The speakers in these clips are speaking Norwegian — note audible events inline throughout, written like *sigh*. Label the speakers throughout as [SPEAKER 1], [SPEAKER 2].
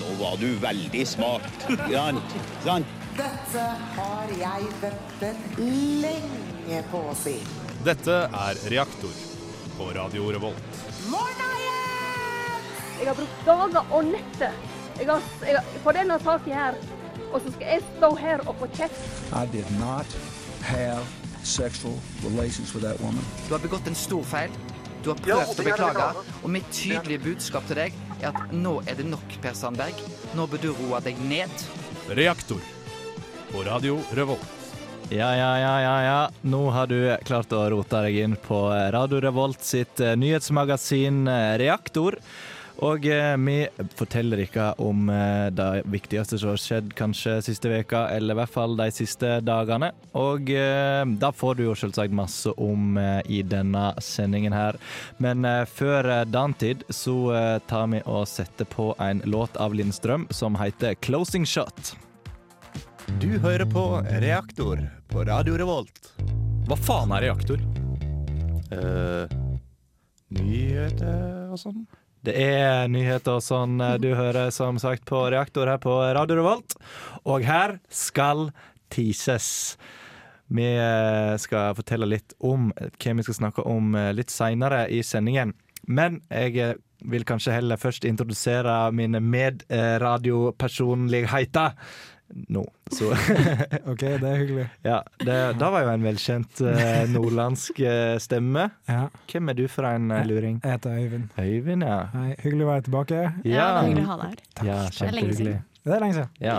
[SPEAKER 1] nå var du veldig smart. Ja, sant?
[SPEAKER 2] Dette har jeg ventet lenge på å si.
[SPEAKER 3] Dette er Reaktor på Radio Revolt.
[SPEAKER 2] Morna igjen!
[SPEAKER 4] Jeg har brukt dager og netter jeg har, jeg har, på denne saken her. Og så skal jeg stå her og få kjeft.
[SPEAKER 5] I did not have sexual relations with that woman.
[SPEAKER 6] Du har begått en stor feil. Du har prøvd å beklage. Og mitt tydelige budskap til deg er at nå er det nok, Per Sandberg. Nå bør du roe deg ned.
[SPEAKER 3] Reaktor på Radio Revolt.
[SPEAKER 7] Ja, ja, ja, ja, ja. Nå har du klart å rote deg inn på Radio Revolt sitt eh, nyhetsmagasin eh, Reaktor. Og eh, vi forteller dere om eh, det viktigste som har skjedd kanskje siste veka, eller i hvert fall de siste dagene. Og eh, da får du jo selvsagt masse om eh, i denne sendingen her. Men eh, før eh, den tid så eh, tar vi og setter på en låt av Lindstrøm som heter 'Closing Shot'.
[SPEAKER 8] Du hører på Reaktor på Radio Revolt.
[SPEAKER 3] Hva faen er reaktor?
[SPEAKER 8] eh nyheter og sånn.
[SPEAKER 7] Det er nyheter og sånn eh, du hører som sagt på Reaktor her på Radio Revolt. Og her skal teases. Vi eh, skal fortelle litt om hva vi skal snakke om eh, litt seinere i sendingen. Men jeg eh, vil kanskje heller først introdusere mine medradiopersonligheter nå. Så *laughs*
[SPEAKER 9] OK, det er hyggelig.
[SPEAKER 7] ja, det, da var jo en velkjent eh, nordlandsk eh, stemme.
[SPEAKER 9] Ja.
[SPEAKER 7] Hvem er du for en eh, luring?
[SPEAKER 9] Jeg heter Øyvind.
[SPEAKER 7] Øyvind, ja.
[SPEAKER 9] Hei, hyggelig å være tilbake.
[SPEAKER 10] Ja, det er hyggelig å ha deg her.
[SPEAKER 7] Ja,
[SPEAKER 10] Det er lenge
[SPEAKER 7] kjempehyggelig.
[SPEAKER 9] Det er lenge siden.
[SPEAKER 7] Ja,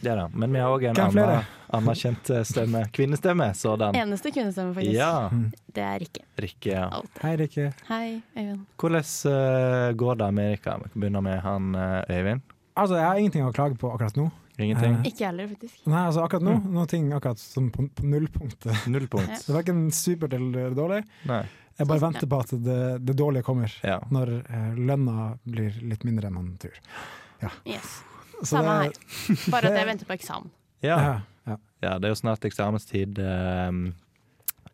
[SPEAKER 7] det er det. Men vi har òg en
[SPEAKER 9] Hvem flere?
[SPEAKER 7] annen anerkjent eh, stemme. Kvinnestemme, sådan.
[SPEAKER 10] Eneste kvinnestemme, faktisk.
[SPEAKER 7] Ja,
[SPEAKER 9] Mm.
[SPEAKER 10] Det er Rikke.
[SPEAKER 7] Rikke. ja.
[SPEAKER 9] Hei, Rikke.
[SPEAKER 10] Hei, Øyvind.
[SPEAKER 7] Hvordan eh, går det med Rikka? Vi kan begynne med han eh, Øyvind.
[SPEAKER 9] Altså, jeg har ingenting å klage på akkurat nå.
[SPEAKER 7] Ingenting?
[SPEAKER 9] Eh.
[SPEAKER 10] Ikke jeg heller, faktisk.
[SPEAKER 9] Nei, altså akkurat nå,
[SPEAKER 7] Mm.
[SPEAKER 9] noen ting akkurat som på, på nullpunktet.
[SPEAKER 7] Null punkt.
[SPEAKER 9] Det er verken supert eller dårlig.
[SPEAKER 7] Nei.
[SPEAKER 9] Jeg bare
[SPEAKER 10] Sånn,
[SPEAKER 9] venter på at det, det dårlige kommer.
[SPEAKER 7] Ja.
[SPEAKER 9] Når eh, lønna blir litt mindre enn man tror.
[SPEAKER 10] Yes.
[SPEAKER 9] Så
[SPEAKER 10] Samme
[SPEAKER 9] det-
[SPEAKER 10] her. Bare at jeg venter på eksamen.
[SPEAKER 7] Ja.
[SPEAKER 9] Ja. ja.
[SPEAKER 7] ja, det er jo snart eksamenstid. eh,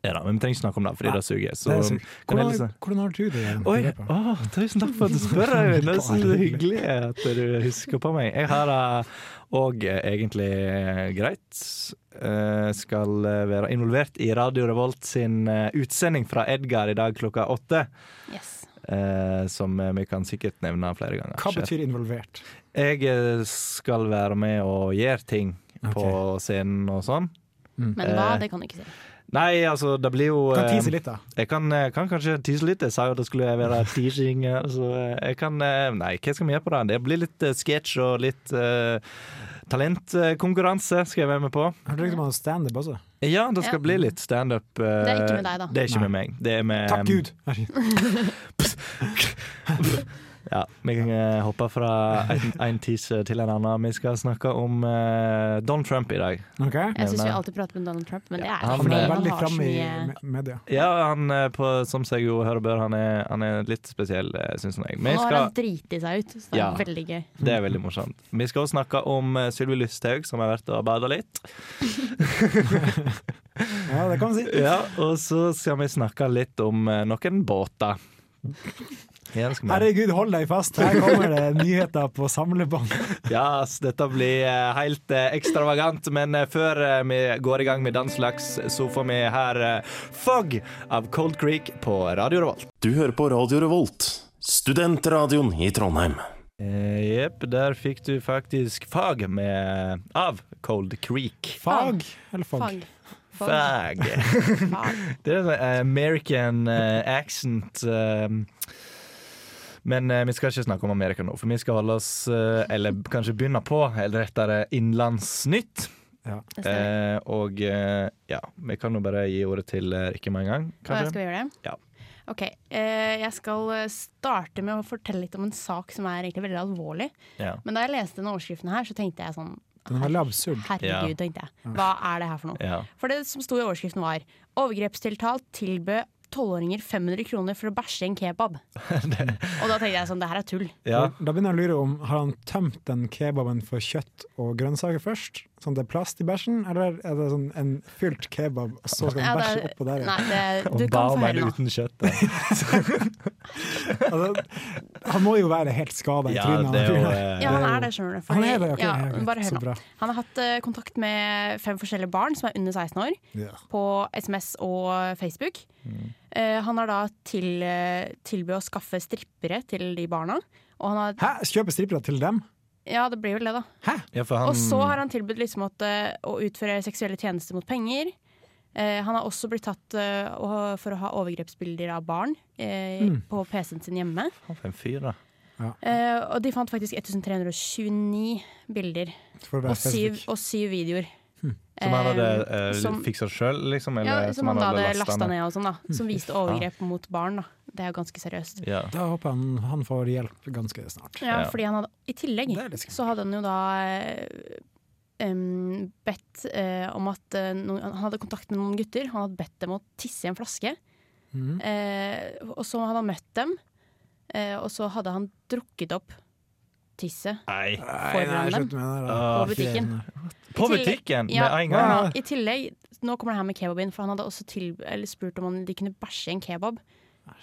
[SPEAKER 7] ja da, men vi trenger ikke snakke om det, fordi det suger. Så
[SPEAKER 9] Det er sykt.
[SPEAKER 7] kan jeg
[SPEAKER 9] hvordan,
[SPEAKER 7] liksom
[SPEAKER 9] har- hvordan har du det? Jørgen?
[SPEAKER 7] Oi,
[SPEAKER 9] Jeg lurer på.
[SPEAKER 7] å, tusen takk for at du spør, Øyvind. Det er så hyggelig at du husker på meg. Jeg har det òg egentlig eh, greit. Eh, Skal eh, være involvert i Radio Revolt sin eh, utsending fra Edgar i dag klokka åtte.
[SPEAKER 10] Yes.
[SPEAKER 7] eh, Som eh, vi kan sikkert nevne flere ganger.
[SPEAKER 9] Hva betyr involvert?
[SPEAKER 7] Jeg eh, skal være med og gjøre ting på scenen og sånn.
[SPEAKER 10] Men hva,
[SPEAKER 7] Eh,
[SPEAKER 10] det kan du ikke si.
[SPEAKER 7] Nei, altså, det blir jo
[SPEAKER 9] Kan
[SPEAKER 7] eh,
[SPEAKER 9] tise litt, da.
[SPEAKER 7] Jeg kan, eh, kan kanskje tease litt. Jeg sa jo det skulle være teasing. her, Så eh, jeg kan Nei, hva skal vi gjøre på det? Det blir litt eh, sketsj og litt eh, talentkonkurranse skal jeg være med på.
[SPEAKER 9] Hørte du ikke om standup også?
[SPEAKER 7] Ja, det skal
[SPEAKER 10] Ja.
[SPEAKER 7] bli litt standup. Uh,
[SPEAKER 10] Det er ikke med deg, da.
[SPEAKER 7] Det er ikke med meg. Det er med
[SPEAKER 9] Takk *laughs* Gud! Herregud.
[SPEAKER 7] Ja, vi kan eh, hoppe fra en, en tease til en annen. Vi skal snakke om eh, Don Trump i dag.
[SPEAKER 9] Ok?
[SPEAKER 10] Jeg syns vi
[SPEAKER 7] Nevne.
[SPEAKER 10] alltid prater med Donald Trump, men det er
[SPEAKER 7] han
[SPEAKER 10] ikke
[SPEAKER 9] Han
[SPEAKER 10] fordi
[SPEAKER 9] er
[SPEAKER 7] men-
[SPEAKER 9] veldig
[SPEAKER 10] han har så
[SPEAKER 9] framme i
[SPEAKER 10] mye
[SPEAKER 9] me- media.
[SPEAKER 7] Ja, han eh, på, som seg jo hører bør, han er, han er litt spesiell, eh, syns jeg. Vi
[SPEAKER 10] Nå har
[SPEAKER 7] skal-
[SPEAKER 10] han driti seg ut, så det er
[SPEAKER 7] Ja.
[SPEAKER 10] veldig gøy.
[SPEAKER 7] Det er veldig morsomt. Vi skal også snakke om eh, Sylvi Lysthaug, som har vært og bada litt.
[SPEAKER 9] Ja, det kan man si.
[SPEAKER 7] Ja, Og så skal vi snakke litt om eh, noen båter. Ja, det skal vi.
[SPEAKER 9] Herregud, hold deg fast!
[SPEAKER 7] *laughs*
[SPEAKER 9] Her kommer det nyheter på samlebånd.
[SPEAKER 7] Ja, ass, dette blir eh, helt eh, ekstravagant, men eh, før eh, vi går i gang med den slags, så får vi her eh, Fog av Cold Creek på Radio Revolt.
[SPEAKER 11] Du hører på Radio Revolt, studentradioen i Trondheim.
[SPEAKER 7] Eh, Jepp, der fikk du faktisk Fog med, av Cold Creek.
[SPEAKER 9] Fag eller fag?
[SPEAKER 10] Fag.
[SPEAKER 7] Fag. det er sånn American eh, accent. eh, men eh, vi skal ikke snakke om Amerika nå, for vi skal holde oss eh, Eller kanskje begynne på, eller rettere, Innlandsnytt.
[SPEAKER 9] Ja.
[SPEAKER 10] Det stemmer.
[SPEAKER 7] Eh, og eh, ja, vi kan jo bare gi ordet til eh, Rikke med en gang,
[SPEAKER 10] Hva
[SPEAKER 7] kanskje.
[SPEAKER 10] skal vi gjøre det?
[SPEAKER 7] Ja.
[SPEAKER 10] Ok, eh, Jeg skal eh, starte med å fortelle litt om en sak som er egentlig veldig alvorlig.
[SPEAKER 7] Ja.
[SPEAKER 10] Men da jeg leste denne overskriften her, så tenkte jeg sånn
[SPEAKER 9] Den er veldig absurd.
[SPEAKER 10] Herregud,
[SPEAKER 7] Ja.
[SPEAKER 10] tenkte jeg. Hva er det her for noe?
[SPEAKER 7] Ja.
[SPEAKER 10] For det som sto i overskriften var Overgrepstiltalt tilbød 12-åringer 500 kroner for å bæsje en kebab. Og da tenkte jeg sånn, det her er tull.
[SPEAKER 7] ja.
[SPEAKER 9] Da begynner jeg å lure om Har han tømt den kebaben for kjøtt og grønnsaker først? Sånn det er plast i bæsjen, eller er det sånn en fylt kebab, og så skal
[SPEAKER 10] Ja,
[SPEAKER 9] den
[SPEAKER 10] det er-
[SPEAKER 9] bæsje oppå der?
[SPEAKER 10] nei, det- du Og kan få da er det høre nå. uten
[SPEAKER 7] kjøtt, *laughs*
[SPEAKER 9] Altså, han må jo være helt skada i
[SPEAKER 7] Ja,
[SPEAKER 9] trynet.
[SPEAKER 7] det er jo,
[SPEAKER 9] fyren der.
[SPEAKER 7] eh,
[SPEAKER 10] Ja, han er det, skjønner du.
[SPEAKER 9] Han er det, ok,
[SPEAKER 10] ja,
[SPEAKER 9] ja,
[SPEAKER 10] bare hør
[SPEAKER 9] så
[SPEAKER 10] nå.
[SPEAKER 9] bra.
[SPEAKER 10] Han har hatt eh, kontakt med fem forskjellige barn som er under 16 år,
[SPEAKER 9] Ja.
[SPEAKER 10] på SMS og Facebook. Eh, han har da til, eh, tilbudt å skaffe strippere til de barna. Og han har,
[SPEAKER 9] Hæ? Kjøper strippere til dem?
[SPEAKER 10] ja, det blir vel det, da.
[SPEAKER 7] Ja, for
[SPEAKER 10] Og så har han tilbudt liksom at, eh, å utføre seksuelle tjenester mot penger. Eh, han har også blitt tatt eh, å- for å ha overgrepsbilder av barn eh,
[SPEAKER 7] Mm.
[SPEAKER 10] på PC-en sin hjemme.
[SPEAKER 7] han for en fyr, da.
[SPEAKER 10] Eh, og de fant faktisk 1329 bilder
[SPEAKER 7] For å være
[SPEAKER 10] og syv,
[SPEAKER 7] spesifikk.
[SPEAKER 10] og syv videoer.
[SPEAKER 7] Som han hadde
[SPEAKER 10] Eh,
[SPEAKER 7] eh,
[SPEAKER 10] som-
[SPEAKER 7] fiksa sjøl, liksom?
[SPEAKER 10] ja,
[SPEAKER 7] Eller,
[SPEAKER 10] som, han da hadde
[SPEAKER 7] lastet
[SPEAKER 10] lasta ned og sånn, da. Som
[SPEAKER 7] Fy
[SPEAKER 10] viste
[SPEAKER 7] faen.
[SPEAKER 10] overgrep mot barn, da. Det er jo ganske seriøst.
[SPEAKER 7] Ja.
[SPEAKER 9] Da håper jeg han, han får hjelp ganske snart.
[SPEAKER 10] Ja, fordi han hadde I tillegg så hadde han jo da eh, em, bedt eh, om at eh, noen, Han hadde kontakt med noen gutter. Han hadde bedt dem å tisse i en flaske.
[SPEAKER 9] Mhm.
[SPEAKER 10] Eh, og så hadde han møtt dem, eh, og så hadde han drukket opp tisset
[SPEAKER 7] Nei.
[SPEAKER 10] foran dem.
[SPEAKER 7] Ah,
[SPEAKER 10] På butikken.
[SPEAKER 7] På
[SPEAKER 10] I tillegg-
[SPEAKER 7] butikken?
[SPEAKER 10] Ja,
[SPEAKER 7] Med en gang?
[SPEAKER 10] ja, I tillegg, nå kommer det her med kebaben, for han hadde også til, eller spurt om han, de kunne bæsje i en kebab.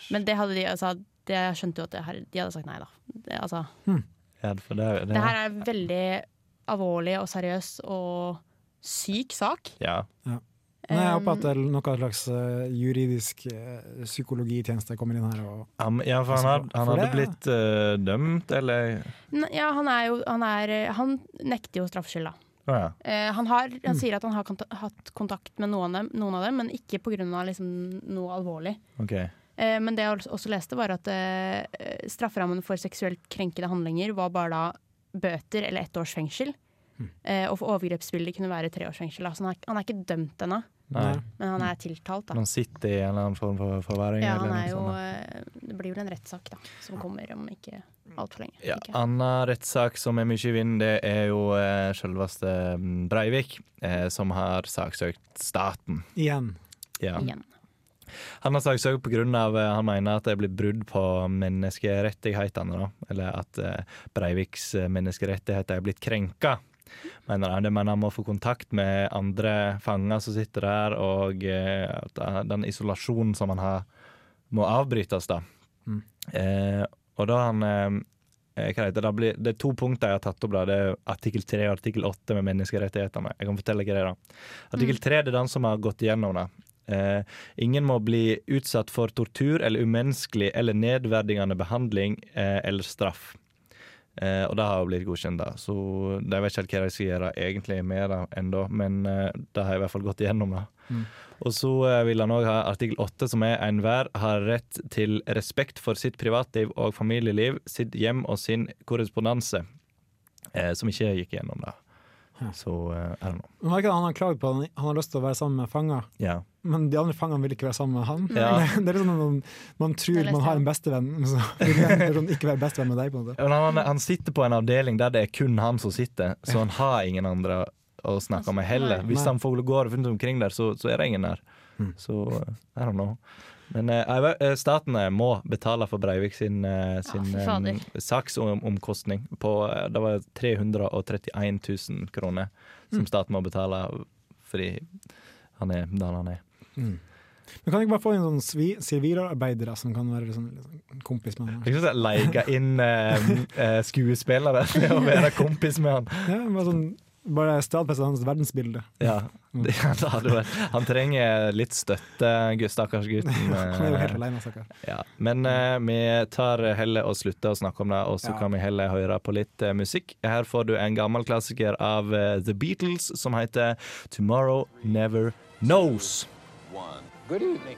[SPEAKER 10] Men det hadde de, altså, det jeg skjønte jo at det her, de hadde sagt nei, da. Det, altså,
[SPEAKER 7] Ja, for det, det,
[SPEAKER 10] det her er veldig alvorlig og seriøs og syk sak.
[SPEAKER 7] ja.
[SPEAKER 9] Nei, jeg håper at det er noe slags eh, juridisk eh, psykologitjeneste kommer inn her. Og,
[SPEAKER 7] Ja, men- ja, for han, had, han
[SPEAKER 9] For
[SPEAKER 7] hadde
[SPEAKER 9] det-
[SPEAKER 7] blitt eh, dømt, eller
[SPEAKER 10] N- Ja, han er jo Han, er, han nekter jo straffskyld, da.
[SPEAKER 7] Å ja.
[SPEAKER 10] Eh, han har, han sier at han har konta- hatt kontakt med noen, av dem- noen av dem, men ikke pga. Liksom, noe alvorlig.
[SPEAKER 7] OK.
[SPEAKER 10] Eh, Men det jeg als- også leste var at eh, eh, strafferammen for seksuelt krenkede handlinger var bare da bøter eller ett års fengsel. Eh, Og for overgrepsbilder kunne være tre års fengsel. da. Så han er, han er ikke dømt ennå,
[SPEAKER 7] Nei.
[SPEAKER 10] men han er tiltalt. da.
[SPEAKER 7] Han sitter i en eller annen form for forvaring?
[SPEAKER 10] Ja,
[SPEAKER 7] eller
[SPEAKER 10] han
[SPEAKER 7] noe
[SPEAKER 10] er jo,
[SPEAKER 7] sånt, da.
[SPEAKER 10] eh, det blir vel en rettssak da, som kommer om ikke altfor lenge.
[SPEAKER 7] Ja, ah, Anna rettssak som er mye i vinden, det er jo eh, selveste mm, Breivik, eh, som har saksøkt staten.
[SPEAKER 9] igjen.
[SPEAKER 7] Ja.
[SPEAKER 10] Igjen.
[SPEAKER 7] Han har saksøkt pga. at eh, han mener at det er blitt brudd på menneskerettighetene. Da. Eller at eh, Breiviks eh, menneskerettigheter er blitt krenka. Mener han. Det mener han må få kontakt med andre fanger som sitter der, og eh, at den isolasjonen som han har, må avbrytes. da.
[SPEAKER 9] Mm.
[SPEAKER 7] Eh, og da han eh, hva heter det? Det, blir, det er to punkter jeg har tatt opp. Da. Det er artikkel 3 og artikkel 8 med menneskerettighetene. Jeg kan fortelle hva det er. da. Artikkel 3 det er den som har gått igjennom det. Eh, ingen må bli utsatt for tortur eller umenneskelig eller nedverdigende behandling eh, eller straff. Eh, og det har jo blitt godkjent, da. Så de vet ikke helt hva de skal gjøre egentlig med det ennå, men eh, det har jeg i hvert fall gått igjennom. da.
[SPEAKER 9] Mm.
[SPEAKER 7] Og så eh, vil han òg ha artikkel åtte, som er enhver har rett til respekt for sitt privatliv og familieliv, sitt hjem og sin korrespondanse. Eh, som ikke gikk gjennom det. Så eh, er det nå.
[SPEAKER 9] Men merker du at han har klagd på at han- han har lyst til å være sammen med fanger,
[SPEAKER 7] Ja.
[SPEAKER 9] men de andre fangene vil ikke være sammen med han.
[SPEAKER 7] Ja.
[SPEAKER 9] *laughs* Det, det er litt sånn at man, man
[SPEAKER 10] Det leste
[SPEAKER 9] tror man har en bestevenn, men så *laughs* vil den personen ikke være bestevenn med deg. på en måte.
[SPEAKER 7] Men han, han sitter på en avdeling der det er kun han som sitter, så han har ingen andre å snakke med heller. Hvis
[SPEAKER 9] Nei.
[SPEAKER 7] han får går rundt omkring der, så, så er det ingen der. Så eh, I don't know. Men eh, jeg vet- eh, staten eh, må betale for Breivik sin, eh, sin
[SPEAKER 10] fy
[SPEAKER 7] eh,
[SPEAKER 10] fader.
[SPEAKER 7] saksomkostning på eh, Det var 331 000 kroner
[SPEAKER 10] Hmm.
[SPEAKER 7] som staten må betale fordi han er den han er.
[SPEAKER 9] Men kan du ikke bare få inn sånne svi- sivilarbeidere som kan være litt sånn, litt sånn kompis med han?
[SPEAKER 7] Jeg syns jeg leker inn eh, eh, skuespillere *laughs* til å være kompis med han.
[SPEAKER 9] Ja, bare sånn, bare stadfeste hans verdensbilde.
[SPEAKER 7] Ja, det, *laughs* det hadde vært. Han trenger litt støtte, gu- stakkars gutten.
[SPEAKER 9] *laughs*
[SPEAKER 7] eh,
[SPEAKER 9] Han er jo helt alene, altså. stakkar.
[SPEAKER 7] Ja. Men eh, vi tar heller og slutter å snakke om det, og så
[SPEAKER 9] Ja.
[SPEAKER 7] kan vi heller høre på litt eh, musikk. Her får du en gammel klassiker av eh, The Beatles som heter 'Tomorrow Never Knows'.
[SPEAKER 12] One. Good evening.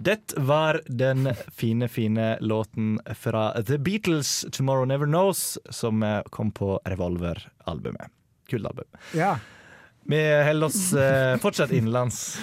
[SPEAKER 7] Det var den fine, fine låten fra The Beatles, 'Tomorrow Never Knows', som eh, kom på Revolver-albumet. Kult album.
[SPEAKER 9] Ja.
[SPEAKER 7] Vi holder oss eh, fortsatt innenlands,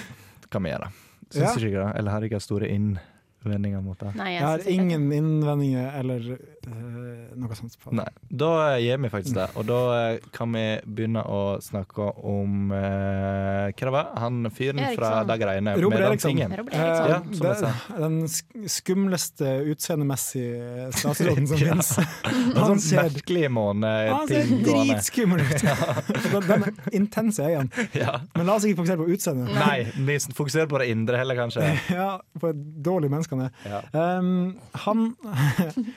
[SPEAKER 7] kan vi gjøre. Syns
[SPEAKER 9] Ja.
[SPEAKER 7] du ikke det? Eller har dere store inn vendinga mot det.
[SPEAKER 10] Nei, jeg
[SPEAKER 9] Jeg har
[SPEAKER 10] synes ikke det.
[SPEAKER 9] ingen innvendinger eller eh, noe sånt. på det.
[SPEAKER 7] Nei. Da gjør vi faktisk det. Og da eh, kan vi begynne å snakke om eh, Hva det var Han fyren
[SPEAKER 10] Eriksson.
[SPEAKER 7] fra de greiene
[SPEAKER 9] Robert
[SPEAKER 7] med den
[SPEAKER 9] Eriksson.
[SPEAKER 7] tingen?
[SPEAKER 10] Robert
[SPEAKER 9] Eh,
[SPEAKER 7] Ja, som jeg
[SPEAKER 9] det,
[SPEAKER 7] sa.
[SPEAKER 9] den sk- skumleste utseendemessige statsråden som
[SPEAKER 7] *laughs* Ja. sånn
[SPEAKER 9] finnes.
[SPEAKER 7] Han
[SPEAKER 9] Han
[SPEAKER 7] ser
[SPEAKER 9] ser-
[SPEAKER 7] merkelig eh,
[SPEAKER 9] Han ser
[SPEAKER 7] måneting gående.
[SPEAKER 9] dritskummel
[SPEAKER 7] *laughs*
[SPEAKER 9] ut! Den- Den intense øynene.
[SPEAKER 7] Ja.
[SPEAKER 9] Men la oss ikke fokusere på utseendet.
[SPEAKER 7] Nei, vi fokuserer på det indre heller, kanskje.
[SPEAKER 9] *laughs* Ja, på et dårlig menneske han er.
[SPEAKER 7] Ja.
[SPEAKER 9] Um, han *laughs*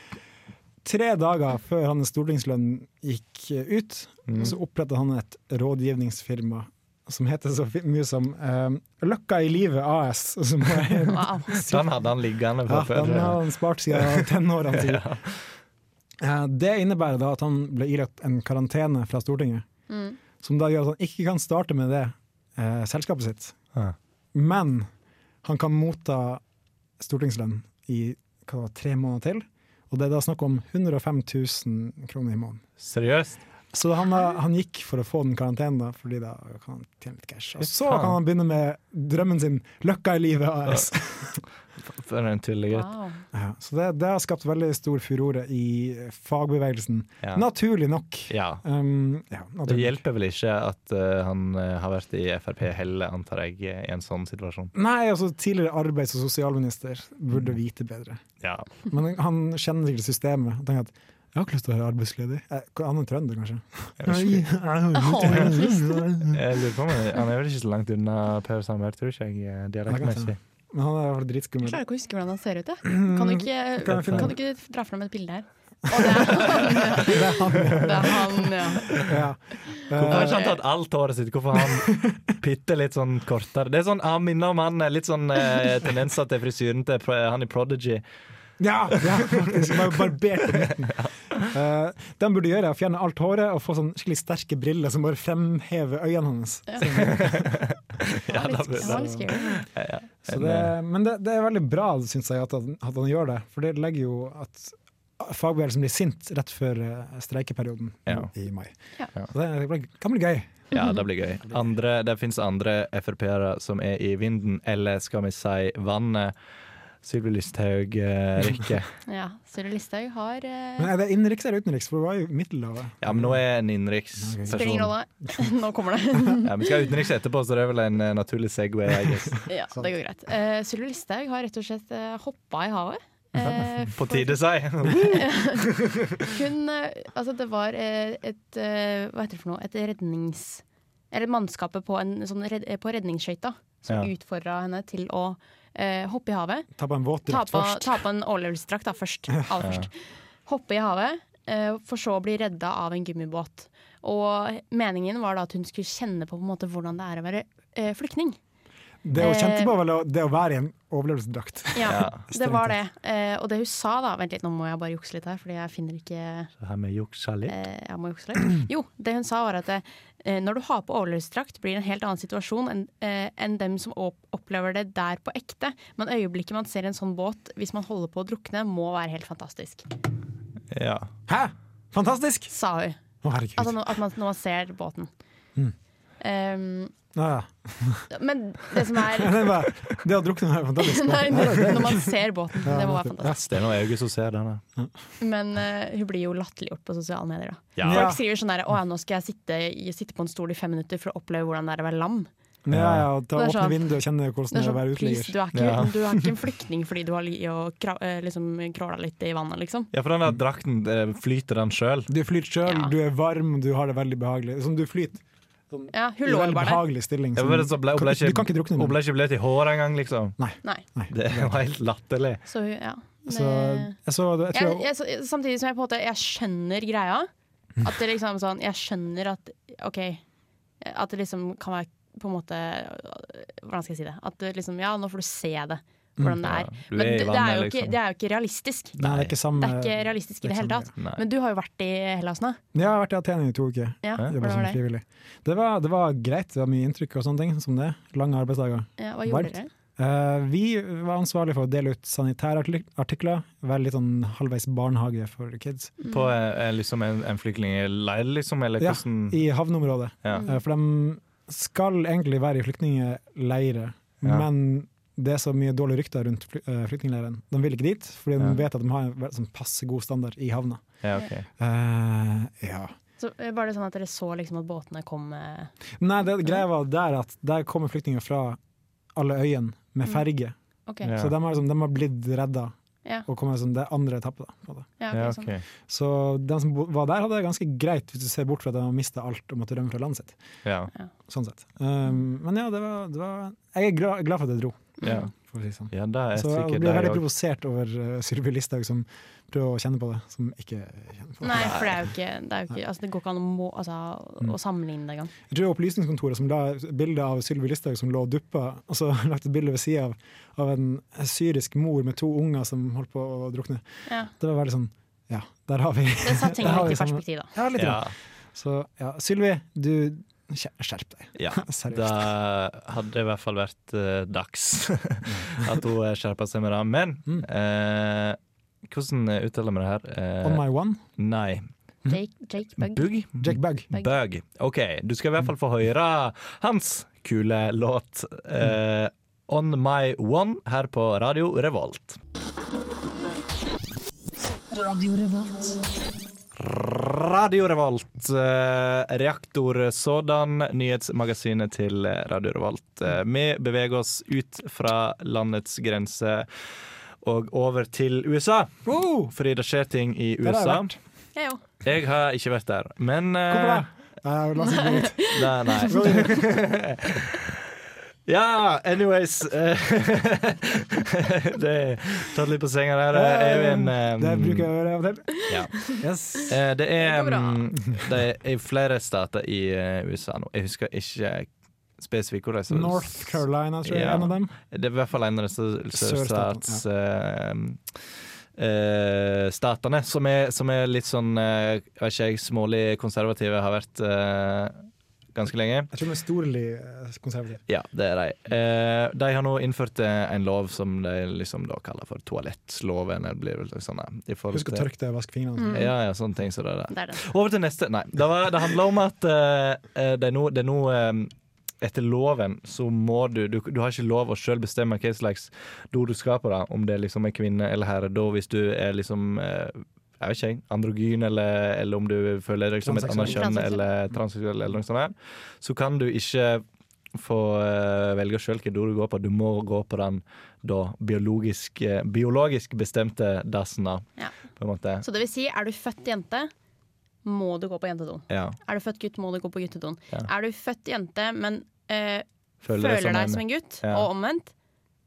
[SPEAKER 9] Tre dager før hans stortingslønn gikk ut,
[SPEAKER 7] Mm.
[SPEAKER 9] så opprettet han et rådgivningsfirma som heter så fi- mye som um, Løkka i livet AS. Som er, *laughs*
[SPEAKER 7] Den Sånn hadde han liggende
[SPEAKER 9] ja,
[SPEAKER 7] fra før.
[SPEAKER 9] den har han spart siden
[SPEAKER 7] *laughs*
[SPEAKER 9] tenårene. sier.
[SPEAKER 7] Ja.
[SPEAKER 9] Eh, Det innebærer da at han ble ilagt en karantene fra Stortinget,
[SPEAKER 10] Mm.
[SPEAKER 9] som da gjør at han ikke kan starte med det eh, selskapet sitt.
[SPEAKER 7] Ja.
[SPEAKER 9] Men han kan motta stortingslønn i hva, det var, tre måneder til, og det er da snakk om 105 000 kroner i måneden.
[SPEAKER 7] Seriøst?
[SPEAKER 9] Så han, da- han gikk for å få den karantenen, da, fordi da kan han tjene litt cash. Og
[SPEAKER 7] Fy
[SPEAKER 9] så
[SPEAKER 7] faen.
[SPEAKER 9] kan han begynne med drømmen sin, løkka i livet
[SPEAKER 7] *laughs*
[SPEAKER 9] AS.
[SPEAKER 7] For en tullegutt.
[SPEAKER 10] Wow.
[SPEAKER 9] Ja, så det, det har skapt veldig stor furore i fagbevegelsen.
[SPEAKER 7] Ja.
[SPEAKER 9] Naturlig nok.
[SPEAKER 7] Ja.
[SPEAKER 9] Um, ja,
[SPEAKER 7] Det
[SPEAKER 9] naturlig.
[SPEAKER 7] hjelper vel ikke at eh, han eh, har vært i Frp heller, antar jeg, i en sånn situasjon.
[SPEAKER 9] Nei, altså tidligere arbeids- og sosialminister burde
[SPEAKER 7] Mm.
[SPEAKER 9] vite bedre.
[SPEAKER 7] Ja.
[SPEAKER 9] Men han kjenner sikkert systemet og tenker at jeg har ikke lyst til å være arbeidsledig. Eh, Han er trønder,
[SPEAKER 7] *laughs*
[SPEAKER 9] kanskje. *laughs* Nei, jeg har ikke lyst til det.
[SPEAKER 7] Mm. Jeg lurer på om Han er vel ikke så langt unna Per Sandberg, tror ikke jeg, eh, dialektmessig.
[SPEAKER 9] Men han er i hvert fall
[SPEAKER 10] Jeg
[SPEAKER 9] dritskummel.
[SPEAKER 10] klarer ikke å huske hvordan han ser ut. Jeg. Kan, du ikke,
[SPEAKER 9] Kan jeg finne-
[SPEAKER 10] kan du ikke dra fram et bilde her? Å, det er
[SPEAKER 9] *laughs*
[SPEAKER 10] han! Det er han, ja.
[SPEAKER 9] Ja.
[SPEAKER 7] Hvorfor har ikke han tatt alt håret sitt? Hvorfor har han bitte litt sånn kortere? Det er sånn, Han minner om han eh, litt sånn eh, tendenser til frisyren til Pro- han i Prodigy.
[SPEAKER 9] Ja, ja faktisk. Bare barbert på
[SPEAKER 7] *laughs*
[SPEAKER 9] midten. Eh, det han burde gjøre, er å fjerne alt håret og få sånn skikkelig sterke briller som bare fremhever øynene hans.
[SPEAKER 7] Ja, da-
[SPEAKER 10] Det var litt scary.
[SPEAKER 7] Ja, ja.
[SPEAKER 9] Så det,
[SPEAKER 7] eh,
[SPEAKER 9] men det, det er veldig bra, syns jeg, at han, at han gjør det. For det legger jo at fagbevegelsen blir sint rett før eh, streikeperioden
[SPEAKER 7] Ja.
[SPEAKER 9] i mai.
[SPEAKER 10] Ja.
[SPEAKER 9] Så det, blir- kan bli gøy.
[SPEAKER 7] Ja, det blir gøy. Andre, det fins andre Frp-ere som er i vinden, eller skal vi si vannet. Sylvi Lysthaug, eh, Rikke.
[SPEAKER 10] Ja, Sylvi Listhaug har eh,
[SPEAKER 9] Men er det innenriks eller utenriks? For det var jo Middelhavet.
[SPEAKER 7] Ja, men nå er jeg en
[SPEAKER 10] Spiller ingen
[SPEAKER 9] sånn.
[SPEAKER 7] innenriksperson.
[SPEAKER 10] rolle. *laughs* Nå kommer det.
[SPEAKER 9] *laughs*
[SPEAKER 7] Ja, vi skal utenriks etterpå, så det er vel en eh, naturlig Segway. I guess.
[SPEAKER 10] Ja, det går greit. Uh, Sylvi Listhaug har rett og slett uh, hoppa i havet. Eh,
[SPEAKER 7] *laughs* På tide,
[SPEAKER 9] *laughs*
[SPEAKER 7] si!
[SPEAKER 10] hun eh, Altså, det var eh, et eh, Hva heter det for noe? Et rednings... Eller mannskapet på, en, sånn red, eh, på redningsskøyta som
[SPEAKER 9] Ja.
[SPEAKER 10] utfordra henne til å eh, hoppe i havet.
[SPEAKER 9] Ta på en våtdrakt
[SPEAKER 10] Ta på-
[SPEAKER 9] først.
[SPEAKER 10] Ta på en overlevelsesdrakt da, først. Aller
[SPEAKER 9] Ja.
[SPEAKER 10] først. Hoppe i havet, eh, for så å bli redda av en gummibåt. Og meningen var da at hun skulle kjenne på, på en måte, hvordan det er å være eh, flyktning.
[SPEAKER 9] Det hun kjente
[SPEAKER 10] Eh,
[SPEAKER 9] på, var det å være i en overlevelsesdrakt.
[SPEAKER 10] Ja, det var det. Eh, og det hun sa da Vent litt, nå må jeg bare jukse litt her, fordi jeg finner ikke
[SPEAKER 7] Så her med juksa litt.
[SPEAKER 10] Eh, jeg må jukse litt. Jo, det hun sa var at eh, når du har på overlevelsesdrakt, blir det en helt annen situasjon enn eh, enn dem som op- opplever det der på ekte. Men øyeblikket man ser en sånn båt, hvis man holder på å drukne, må være helt fantastisk.
[SPEAKER 7] Ja.
[SPEAKER 9] Hæ? Fantastisk!
[SPEAKER 10] Sa hun.
[SPEAKER 9] Å, herregud.
[SPEAKER 10] Altså nå- at man, når man ser båten.
[SPEAKER 9] Mm.
[SPEAKER 10] Ehm,
[SPEAKER 9] Ja, *laughs* ja.
[SPEAKER 10] men det som er *laughs*
[SPEAKER 9] Det var- det å drukne var fantastisk.
[SPEAKER 10] Nei,
[SPEAKER 9] Ja, det-
[SPEAKER 10] når man ser båten.
[SPEAKER 9] Ja,
[SPEAKER 10] Det må være
[SPEAKER 9] nettopp.
[SPEAKER 10] fantastisk.
[SPEAKER 7] Det er noe Auge som ser denne.
[SPEAKER 10] Men eh, hun blir jo latterliggjort på sosiale medier. da
[SPEAKER 7] Ja.
[SPEAKER 10] Folk skriver sånn der Å ja, nå skal jeg sitte, i- sitte på en stol i fem minutter for å oppleve hvordan det er å være lam.
[SPEAKER 9] Ja, ja, og ta,
[SPEAKER 10] Det er
[SPEAKER 9] åpne
[SPEAKER 10] sånn-
[SPEAKER 9] vinduet og kjenne hvordan
[SPEAKER 10] Det
[SPEAKER 9] det er
[SPEAKER 10] er
[SPEAKER 9] å
[SPEAKER 10] sånn,
[SPEAKER 9] være
[SPEAKER 10] please, du er,
[SPEAKER 9] uteligger.
[SPEAKER 10] ikke,
[SPEAKER 7] Ja.
[SPEAKER 10] du
[SPEAKER 9] *laughs*
[SPEAKER 10] er ikke en flyktning fordi du har li og kra, eh, liksom, kråla litt i vannet, liksom.
[SPEAKER 7] Ja, for den der drakten eh, flyter den sjøl.
[SPEAKER 9] Du flyter sjøl, du er varm, du har det veldig behagelig. Som du flyter
[SPEAKER 10] Ja,
[SPEAKER 9] i
[SPEAKER 10] hun lå
[SPEAKER 9] veldig
[SPEAKER 10] bare der.
[SPEAKER 9] behagelig stilling.
[SPEAKER 7] Ja,
[SPEAKER 9] som-
[SPEAKER 7] men så ble, hun ble
[SPEAKER 9] du kan ikke drukne
[SPEAKER 7] ikke,
[SPEAKER 9] med
[SPEAKER 7] hun ble ikke bløt i håret engang, liksom.
[SPEAKER 10] Nei.
[SPEAKER 7] Det var helt latterlig.
[SPEAKER 10] Så hun, ja. Det-
[SPEAKER 9] Så jeg så det, Altså, jeg
[SPEAKER 10] jeg,
[SPEAKER 9] tror jeg,
[SPEAKER 10] jeg, så- samtidig som jeg på en måte Jeg skjønner greia. At det liksom sånn Jeg skjønner at OK. At det liksom kan være på en måte Hvordan skal jeg si det? At det liksom Ja, nå får du se det. Hvordan det
[SPEAKER 9] Mm,
[SPEAKER 10] er.
[SPEAKER 9] ja. Du
[SPEAKER 10] Men
[SPEAKER 9] er i
[SPEAKER 10] det, det, er
[SPEAKER 9] vannet,
[SPEAKER 10] jo ikke,
[SPEAKER 9] liksom.
[SPEAKER 10] det er jo ikke realistisk.
[SPEAKER 9] Nei, det er ikke samme-
[SPEAKER 10] Det er ikke realistisk i det hele tatt.
[SPEAKER 9] sånn, Nei.
[SPEAKER 10] Men du har jo vært i Hellas nå.
[SPEAKER 9] jeg har vært i Aten i to uker.
[SPEAKER 10] Ja,
[SPEAKER 9] Jobbet
[SPEAKER 10] hvordan
[SPEAKER 9] som
[SPEAKER 10] var det?
[SPEAKER 9] frivillig. Det var, det var greit, det var mye inntrykk og sånne ting som det. Lange arbeidsdager.
[SPEAKER 10] Ja, hva gjorde
[SPEAKER 9] Varmt.
[SPEAKER 10] dere?
[SPEAKER 9] Eh, vi var ansvarlige for å dele ut sanitærartikler. Veldig sånn halvveis barnehage for kids.
[SPEAKER 7] På eh, liksom en, en flyktningleir, liksom, eller
[SPEAKER 9] Ja,
[SPEAKER 7] hvordan
[SPEAKER 9] i havneområdet.
[SPEAKER 7] Ja.
[SPEAKER 9] Eh, For de skal egentlig være i flyktningleirer,
[SPEAKER 7] Ja.
[SPEAKER 9] men det er så mye dårlige rykter rundt fly, eh, flyktningleiren. De vil ikke dit, fordi de
[SPEAKER 10] Ja.
[SPEAKER 9] vet at de har en vel- sånn passe god standard i havna.
[SPEAKER 10] Ja, ok.
[SPEAKER 9] Eh, ja.
[SPEAKER 10] Så eh, Var det sånn at dere så liksom at båtene kom eh,
[SPEAKER 9] Nei, det greia var der at der kommer flyktninger fra alle øyene med
[SPEAKER 10] Mm.
[SPEAKER 9] ferge.
[SPEAKER 10] Ok. Ja.
[SPEAKER 9] Så de har, liksom, de har blitt redda
[SPEAKER 10] Ja.
[SPEAKER 9] og kommer som det er andre etappe. Da, på en måte.
[SPEAKER 10] Ja, ok, Ja, sånn. ok.
[SPEAKER 9] Så de som bo- var der, hadde det ganske greit, hvis du ser bort fra at de har mista alt og måtte rømme fra landet sitt.
[SPEAKER 7] Ja.
[SPEAKER 9] Sånn sett. Um, men ja, det var, det var Jeg er glad, glad for at jeg dro.
[SPEAKER 7] Ja.
[SPEAKER 9] For å si det sånn.
[SPEAKER 7] Ja, det er
[SPEAKER 9] Så jeg
[SPEAKER 7] sikkert
[SPEAKER 9] blir
[SPEAKER 7] de
[SPEAKER 9] veldig
[SPEAKER 7] også.
[SPEAKER 9] provosert over uh, Sylvi Listhaug som prøver å kjenne på det, som ikke kjenner på det.
[SPEAKER 10] Nei, for det er jo ikke Det, er jo ikke, altså, det går ikke an å, må, altså,
[SPEAKER 9] Mm.
[SPEAKER 10] å sammenligne det engang.
[SPEAKER 9] Jeg tror det var Opplysningskontoret som la et bilde av Sylvi Listhaug som lå og duppa, og så *laughs* lagt et bilde ved sida av, av en syrisk mor med to unger som holdt på å drukne.
[SPEAKER 10] Ja.
[SPEAKER 9] Det var veldig sånn Ja, der har vi *laughs*
[SPEAKER 10] Det satte ting
[SPEAKER 9] der har
[SPEAKER 10] litt
[SPEAKER 9] vi
[SPEAKER 10] i
[SPEAKER 9] sammen.
[SPEAKER 10] perspektiv, da.
[SPEAKER 9] Ja, litt.
[SPEAKER 7] Ja.
[SPEAKER 9] grann. Så ja, Sylvi, du skjer- skjerp deg. *laughs*
[SPEAKER 7] Ja, *laughs*
[SPEAKER 9] Seriøst.
[SPEAKER 7] det hadde det i hvert fall vært eh, dags *laughs* at hun eh, skjerpa seg med det. Men eh, hvordan uttaler vi det her? Eh,
[SPEAKER 9] On my one?
[SPEAKER 7] Nei.
[SPEAKER 10] Jake, Jake Bug.
[SPEAKER 7] Bug?
[SPEAKER 9] Jake
[SPEAKER 7] *laughs*
[SPEAKER 9] Bug.
[SPEAKER 7] Bug. OK, du skal i hvert fall få høre hans kule låt eh, On My One her på Radio Revolt.
[SPEAKER 13] Radio Revolt.
[SPEAKER 7] Radio Revolt. eh, Reaktor sådan, nyhetsmagasinet til Radio Revolt. Eh, Vi beveger oss ut fra landets grense og over til USA. Fordi det skjer ting i
[SPEAKER 9] har jeg
[SPEAKER 7] USA.
[SPEAKER 9] vært.
[SPEAKER 10] Jeg òg.
[SPEAKER 7] Jeg har ikke vært der, men eh,
[SPEAKER 9] Hvorfor det? Nei, la oss ikke gå
[SPEAKER 7] *laughs*
[SPEAKER 9] dit.
[SPEAKER 7] Nei,
[SPEAKER 9] *laughs* Gå
[SPEAKER 7] nei.
[SPEAKER 9] videre.
[SPEAKER 7] *laughs* Ja, anyways eh, *laughs* Det er tatt litt på senga der. Det er jo en eh,
[SPEAKER 9] Det bruker jeg å gjøre av og til.
[SPEAKER 7] ja.
[SPEAKER 9] Yes.
[SPEAKER 7] Eh, Det er,
[SPEAKER 9] Det går bra.
[SPEAKER 7] mm, det er flere stater i eh, USA nå. Jeg husker ikke spesifikt hvor det er.
[SPEAKER 9] North Carolina, tror jeg, er en av dem.
[SPEAKER 7] Det er i hvert fall en av disse
[SPEAKER 9] Sørstatene,
[SPEAKER 7] sørstatsstatene eh, statene, som, er- som er litt sånn eh, jeg vet ikke jeg, smålig konservative, har vært eh, ganske lenge.
[SPEAKER 9] Jeg tror de er storlig eh, konservative.
[SPEAKER 7] Ja, det er de. Eh, de har nå innført eh, en lov som de liksom da kaller for toalettloven. eller blir vel sånn, eh, i forhold
[SPEAKER 9] Husk å
[SPEAKER 7] til-
[SPEAKER 9] tørke deg og sånn. vaske fingrene.
[SPEAKER 7] Mm. Ja, ja, sånne ting. Så det er det.
[SPEAKER 9] Det er det.
[SPEAKER 7] Over til neste. Nei, det, var, det handler om at eh, eh, det er nå, det er nå eh, etter loven så må du, du Du har ikke lov å sjøl bestemme hva slags do du skal på, da. Om det liksom er kvinne eller herre. Da hvis du er liksom eh, jeg vet ikke, jeg, androgyn, eller, eller om du føler deg som et annet
[SPEAKER 8] Transseksuell.
[SPEAKER 7] kjønn eller transseksuell, eller noe sånt, her, så kan du ikke få eh, velge sjøl hvilken do du går på. Du må gå på den da biologisk, eh, biologisk bestemte dassen, da,
[SPEAKER 10] Ja.
[SPEAKER 7] på en måte.
[SPEAKER 10] Så det vil si, er du født jente, må du gå på jentedoen.
[SPEAKER 7] Ja.
[SPEAKER 10] Er du født gutt, må du gå på guttedoen.
[SPEAKER 7] Ja.
[SPEAKER 10] Er du født jente, men eh,
[SPEAKER 7] Føler deg
[SPEAKER 10] føler,
[SPEAKER 7] som
[SPEAKER 10] deg
[SPEAKER 7] en-
[SPEAKER 10] som en gutt,
[SPEAKER 7] Ja.
[SPEAKER 10] og omvendt,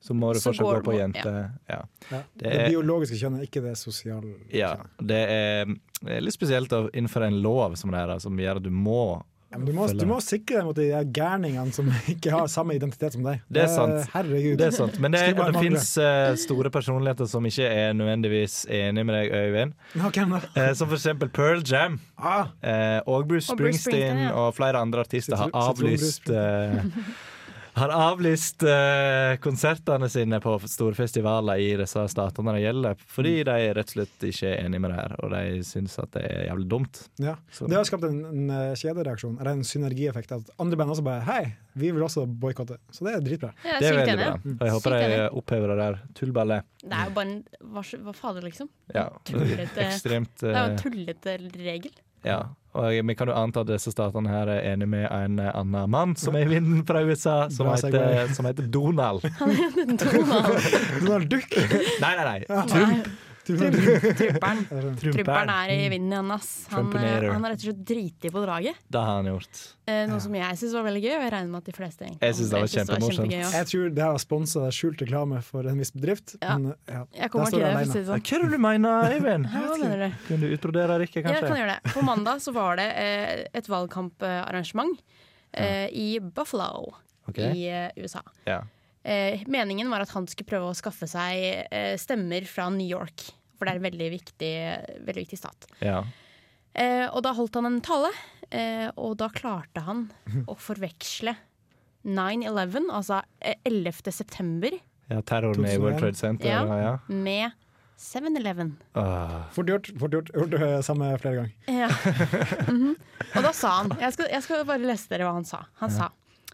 [SPEAKER 7] Så må du
[SPEAKER 10] Så
[SPEAKER 7] fortsatt
[SPEAKER 10] går
[SPEAKER 7] gå på
[SPEAKER 10] må-
[SPEAKER 7] jente. Ja.
[SPEAKER 9] Ja.
[SPEAKER 7] Det
[SPEAKER 9] Det
[SPEAKER 7] er,
[SPEAKER 9] biologiske kjønnet, ikke det sosiale.
[SPEAKER 7] ja, det er det er litt spesielt å innføre en lov som det her, da, som gjør at du må
[SPEAKER 9] Ja, men du, må, du må sikre deg mot de der gærningene som *laughs* ikke har samme identitet som deg. Eh,
[SPEAKER 7] Det er sant.
[SPEAKER 9] Herregud.
[SPEAKER 7] Det er sant. Men det,
[SPEAKER 9] Skulle bare mangle.
[SPEAKER 7] det fins eh, store personligheter som ikke er nødvendigvis enig med deg, Øyvind.
[SPEAKER 9] Ja, hvem da?
[SPEAKER 7] Eh, som for eksempel Pearl Jam. Eh, og Bruce
[SPEAKER 9] Og Bruce
[SPEAKER 7] Springsteen og,
[SPEAKER 9] Springsteen, ja.
[SPEAKER 7] flere andre artister har
[SPEAKER 9] Sitron-
[SPEAKER 7] avlyst eh, har avlyst eh, konsertene sine på store festivaler i disse statene det gjelder, fordi de rett og slett ikke er enig med det her, og de syns at det er jævlig dumt.
[SPEAKER 9] Ja.
[SPEAKER 7] Så-
[SPEAKER 9] Det har skapt en, en eh, kjedereaksjon, eller en synergieffekt. At andre band også bare Hei, vi vil også boikotte. Så det er dritbra.
[SPEAKER 10] Ja,
[SPEAKER 7] det er
[SPEAKER 10] sykt
[SPEAKER 7] veldig
[SPEAKER 10] enig.
[SPEAKER 7] bra. Og jeg håper
[SPEAKER 10] Sykt
[SPEAKER 7] de
[SPEAKER 10] enig.
[SPEAKER 7] opphever det der tullballet.
[SPEAKER 10] det er jo bare en Hva, s- hva fader, liksom?
[SPEAKER 7] Ja.
[SPEAKER 10] Tullete-
[SPEAKER 7] Ekstremt,
[SPEAKER 10] Det er
[SPEAKER 7] eh,
[SPEAKER 10] jo en tullete regel. *laughs*
[SPEAKER 7] Ja. Og vi kan jo anta at disse statene her er enig med en eh, annen mann som er i vinden fra USA, som,
[SPEAKER 9] Bra
[SPEAKER 7] heter,
[SPEAKER 9] segway.
[SPEAKER 7] *laughs* som heter
[SPEAKER 10] *laughs*
[SPEAKER 7] Donald.
[SPEAKER 9] Donald Duck!
[SPEAKER 7] Nei, nei, nei. Trump.
[SPEAKER 10] Trumperen. Trumperen er i
[SPEAKER 7] Mm.
[SPEAKER 10] vinden igjen, ass. Han, eh,
[SPEAKER 7] Trumpinator.
[SPEAKER 10] han er rett og slett driti på draget.
[SPEAKER 7] Det har han gjort.
[SPEAKER 10] Eh, noe som jeg syns var veldig gøy, og jeg regner med at de fleste egentlig
[SPEAKER 7] Jeg synes det var
[SPEAKER 10] synes
[SPEAKER 7] kjempemorsomt.
[SPEAKER 10] kjempegøy, ja.
[SPEAKER 9] Jeg tror det her var sponsa skjult reklame for en viss bedrift.
[SPEAKER 10] Ja.
[SPEAKER 9] Men, ja.
[SPEAKER 10] Jeg kommer
[SPEAKER 9] Der står
[SPEAKER 10] til det,
[SPEAKER 9] alene.
[SPEAKER 10] for å si det sånn.
[SPEAKER 7] Hva er det du mener, Eivind?
[SPEAKER 10] Hva mener du?
[SPEAKER 7] Kunne du utbrodere Rikke,
[SPEAKER 10] Ja,
[SPEAKER 7] kanskje?
[SPEAKER 10] jeg kan gjøre det. På mandag så var det eh,
[SPEAKER 7] *laughs*
[SPEAKER 10] et valgkamparrangement eh, i Buffalo
[SPEAKER 7] Ok.
[SPEAKER 10] i eh, USA.
[SPEAKER 7] Ja.
[SPEAKER 10] Eh, meningen var at han skulle prøve å skaffe seg eh, stemmer fra New York, for det er en veldig viktig, veldig viktig stat.
[SPEAKER 7] Ja.
[SPEAKER 10] Eh, og da holdt han en tale, eh, og da klarte han å forveksle 9-11, altså eh, 11. september,
[SPEAKER 7] ja, terroren i World Trade Center.
[SPEAKER 10] ja,
[SPEAKER 7] Ja. Ja.
[SPEAKER 10] med 7-Eleven.
[SPEAKER 7] Ah.
[SPEAKER 10] sånn.
[SPEAKER 9] Fort gjort. fort gjort. Gjort det samme flere ganger.
[SPEAKER 10] Ja. Mhm. Og da sa han jeg skal, jeg skal bare lese dere hva han sa. Han
[SPEAKER 9] Ja.
[SPEAKER 10] sa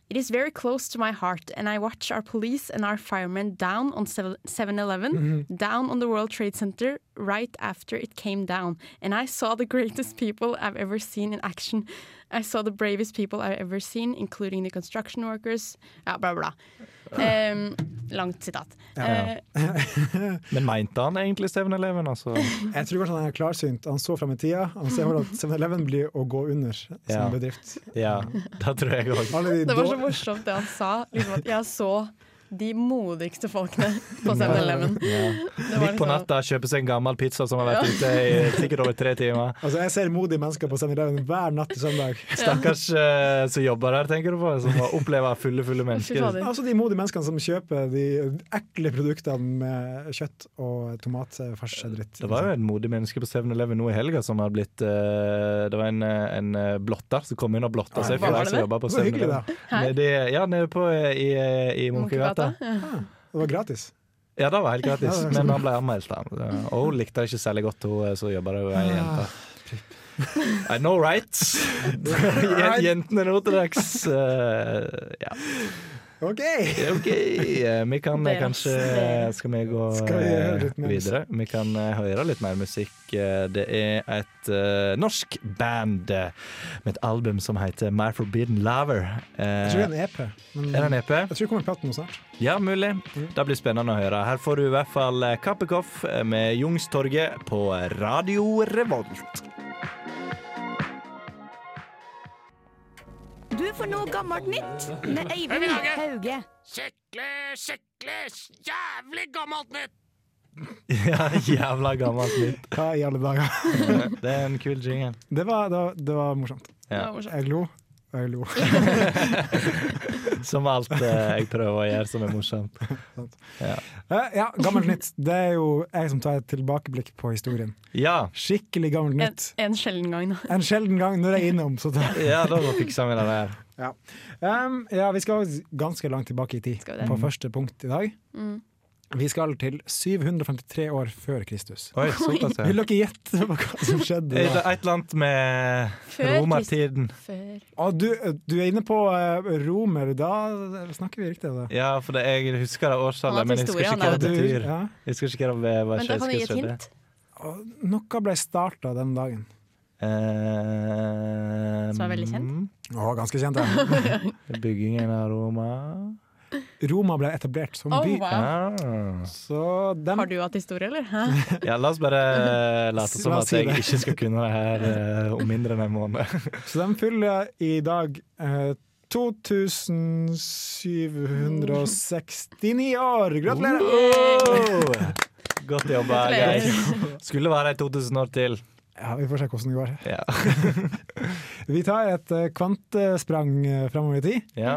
[SPEAKER 10] It is very close to my heart, and I watch our police and our firemen down on 7 Eleven,
[SPEAKER 7] Mhm.
[SPEAKER 10] down on the World Trade Center, right after it came down. And I saw the greatest people I've ever seen in action. I saw the bravest people I've ever seen, including the construction workers. Ja, bla, bla. Um, langt sitat. Eh,
[SPEAKER 7] Ja, Men mente han egentlig 7-Eleven,
[SPEAKER 10] *laughs*
[SPEAKER 7] altså?
[SPEAKER 9] Jeg tror kanskje han er klarsynt. Han så frem i tida. Han ser at 7-Eleven blir å gå under som
[SPEAKER 7] Ja.
[SPEAKER 9] bedrift.
[SPEAKER 7] Ja, da tror jeg òg.
[SPEAKER 10] Det var så morsomt det han sa. Liksom at jeg så de modigste folkene på 7-Eleven.
[SPEAKER 7] Ja.
[SPEAKER 10] Det var
[SPEAKER 7] Midt på
[SPEAKER 10] liksom-
[SPEAKER 7] natta kjøpe seg en gammel pizza som har vært ute i sikkert over tre timer.
[SPEAKER 9] Altså, jeg ser modige mennesker på 7-Eleven hver natt til
[SPEAKER 10] *laughs*
[SPEAKER 9] søndag.
[SPEAKER 7] Stakkars eh, som jobber der, tenker du på? Som opplever fulle, fulle mennesker.
[SPEAKER 9] Altså de modige menneskene som kjøper de ekle produktene med kjøtt og tomatfars og dritt.
[SPEAKER 7] Det var jo en modig menneske på 7-Eleven nå i helga som har blitt eh, Det var en, eh, en eh, blotter som kom inn og blotta seg for
[SPEAKER 9] Var
[SPEAKER 7] de
[SPEAKER 9] det
[SPEAKER 7] som
[SPEAKER 9] det?
[SPEAKER 7] jobba på
[SPEAKER 9] Det var hyggelig,
[SPEAKER 7] 7-Eleven. Nede i- Ja, nede på eh, i, eh, i Munkegata.
[SPEAKER 10] Ah,
[SPEAKER 9] Det var gratis.
[SPEAKER 7] Ja, det var helt gratis,
[SPEAKER 9] Ja, det var sånn.
[SPEAKER 7] men han ble anmeldt. da. Og hun likte det ikke særlig godt, hun eh, som jobba der, hun er ei jente.
[SPEAKER 9] Ah,
[SPEAKER 7] I know right. Jen- *laughs* Jentene nå til dags. eh, ja.
[SPEAKER 9] OK!
[SPEAKER 7] OK. eh, Vi kan eh,
[SPEAKER 9] Deres.
[SPEAKER 7] kanskje Skal vi gå
[SPEAKER 9] Skal vi høre
[SPEAKER 7] eh,
[SPEAKER 9] litt mer
[SPEAKER 7] videre? Vi kan eh, høre litt mer musikk. Eh, Det er et eh, norsk band eh, med et album som heter My Forbidden Lover. Eh,
[SPEAKER 9] Jeg tror det er en EP. men-
[SPEAKER 7] Er det en E EP?
[SPEAKER 9] Jeg tror det kommer platen nå snart.
[SPEAKER 7] Ja, mulig. Det blir spennende å høre. Her får du i hvert fall Kappekoff med Jungstorget på Radio Revolt.
[SPEAKER 14] Du får noe gammelt nytt med Øyvind Hauge. Skikkelig, skikkelig, jævlig gammelt nytt!
[SPEAKER 7] *laughs* Ja, jævla gammelt nytt.
[SPEAKER 9] Hva i alle dager?
[SPEAKER 7] *laughs*
[SPEAKER 9] *laughs*
[SPEAKER 7] Det er en kul jingle.
[SPEAKER 9] Det var, det var, det var morsomt.
[SPEAKER 7] Ja. Det var morsomt.
[SPEAKER 9] Jeg lo, og jeg lo.
[SPEAKER 7] Som alt eh, jeg prøver å gjøre som er morsomt. Ja.
[SPEAKER 9] Eh, ja, gammelt nytt. Det er jo jeg som tar et tilbakeblikk på historien.
[SPEAKER 7] Ja.
[SPEAKER 9] Skikkelig gammelt
[SPEAKER 10] En,
[SPEAKER 9] nytt.
[SPEAKER 10] en sjelden gang, da.
[SPEAKER 9] En sjelden gang når jeg er innom. Så tar jeg-
[SPEAKER 7] ja, da fikser vi det der.
[SPEAKER 9] Ja. *laughs* Um, ja, vi skal ganske langt tilbake i tid
[SPEAKER 10] det?
[SPEAKER 9] på første punkt i dag.
[SPEAKER 10] Mm.
[SPEAKER 9] Vi skal til 753 år før Kristus.
[SPEAKER 7] Oi, såpass, ja.
[SPEAKER 9] Vil dere gjette på hva som skjedde
[SPEAKER 7] Er det
[SPEAKER 9] da?
[SPEAKER 7] et eller annet med
[SPEAKER 10] Før
[SPEAKER 7] romertiden?
[SPEAKER 10] Før
[SPEAKER 9] Å, du, du er inne på eh, romer, da snakker vi riktig. Da.
[SPEAKER 7] Ja, for det, jeg husker det
[SPEAKER 9] Han har
[SPEAKER 7] årstallet, men jeg husker
[SPEAKER 9] historie,
[SPEAKER 7] ikke
[SPEAKER 9] han
[SPEAKER 7] hva det
[SPEAKER 9] er.
[SPEAKER 7] betyr.
[SPEAKER 9] Ja.
[SPEAKER 7] Jeg husker ikke hva det hva
[SPEAKER 10] Men da kan du gi et
[SPEAKER 7] skjedde.
[SPEAKER 10] hint.
[SPEAKER 9] Å, Noe ble starta den dagen.
[SPEAKER 7] Eh,
[SPEAKER 10] Som er veldig kjent.
[SPEAKER 9] Å, ganske kjent, ja.
[SPEAKER 7] Byggingen av Roma
[SPEAKER 9] *laughs* Roma ble etablert som
[SPEAKER 10] Oh,
[SPEAKER 9] by.
[SPEAKER 10] wow.
[SPEAKER 7] Ah.
[SPEAKER 9] Så
[SPEAKER 10] Har du hatt historie, eller? Hæ?
[SPEAKER 7] Ja, la oss bare late som
[SPEAKER 9] La
[SPEAKER 7] at
[SPEAKER 9] oss si
[SPEAKER 7] jeg
[SPEAKER 9] det.
[SPEAKER 7] ikke skal kunne det her eh, om mindre enn en måned.
[SPEAKER 9] Så de fyller i dag eh, 2769 år! Gratulerer!
[SPEAKER 7] Wow! Godt jobba,
[SPEAKER 9] Gratulerer.
[SPEAKER 7] Geir. Skulle være ei 2000 år til.
[SPEAKER 9] Ja, Vi får se hvordan det går.
[SPEAKER 7] Ja.
[SPEAKER 9] Vi tar et eh, kvantesprang eh, framover i tid.
[SPEAKER 7] Ja.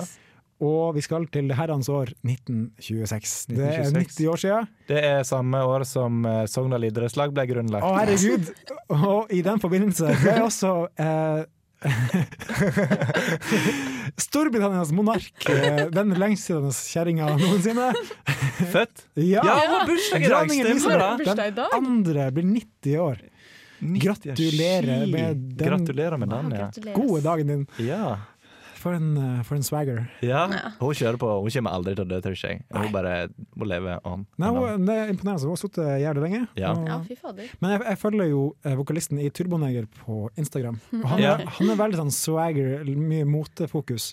[SPEAKER 9] Og vi skal til det herrens år 1926. Det er
[SPEAKER 7] 1926.
[SPEAKER 9] 90 år siden.
[SPEAKER 7] Det er samme år som eh, Sogndal idrettslag ble grunnlagt.
[SPEAKER 9] Å, herregud! Og i den forbindelse ble også eh, *laughs* Storbritannias monark, eh, den lengstsittende kjerringa noensinne
[SPEAKER 7] Født?
[SPEAKER 9] Ja,
[SPEAKER 7] Ja, hun har bursdag i dag,
[SPEAKER 9] Dronning
[SPEAKER 7] stemmer
[SPEAKER 9] Elisabeth,
[SPEAKER 7] det. Bursdag i dag.
[SPEAKER 9] Den andre blir 90 år. Gratulerer med den
[SPEAKER 7] Gratulerer med den, Sånn, ja.
[SPEAKER 9] gode dagen din.
[SPEAKER 7] Ja.
[SPEAKER 9] For en, eh, for en swagger.
[SPEAKER 7] ja. Hun kjører på. Hun kommer aldri til å dø, tror jeg. Hun bare hun lever on.
[SPEAKER 9] Nei, hun, det er imponerende. Hun har sittet jævlig lenge.
[SPEAKER 7] Ja.
[SPEAKER 9] Og-
[SPEAKER 10] Ja, fy fader.
[SPEAKER 9] Men jeg, jeg følger jo eh, vokalisten i Turboneger på Instagram.
[SPEAKER 7] *laughs*
[SPEAKER 9] Og han,
[SPEAKER 7] Ja.
[SPEAKER 9] er, han er veldig sånn swagger, mye motefokus.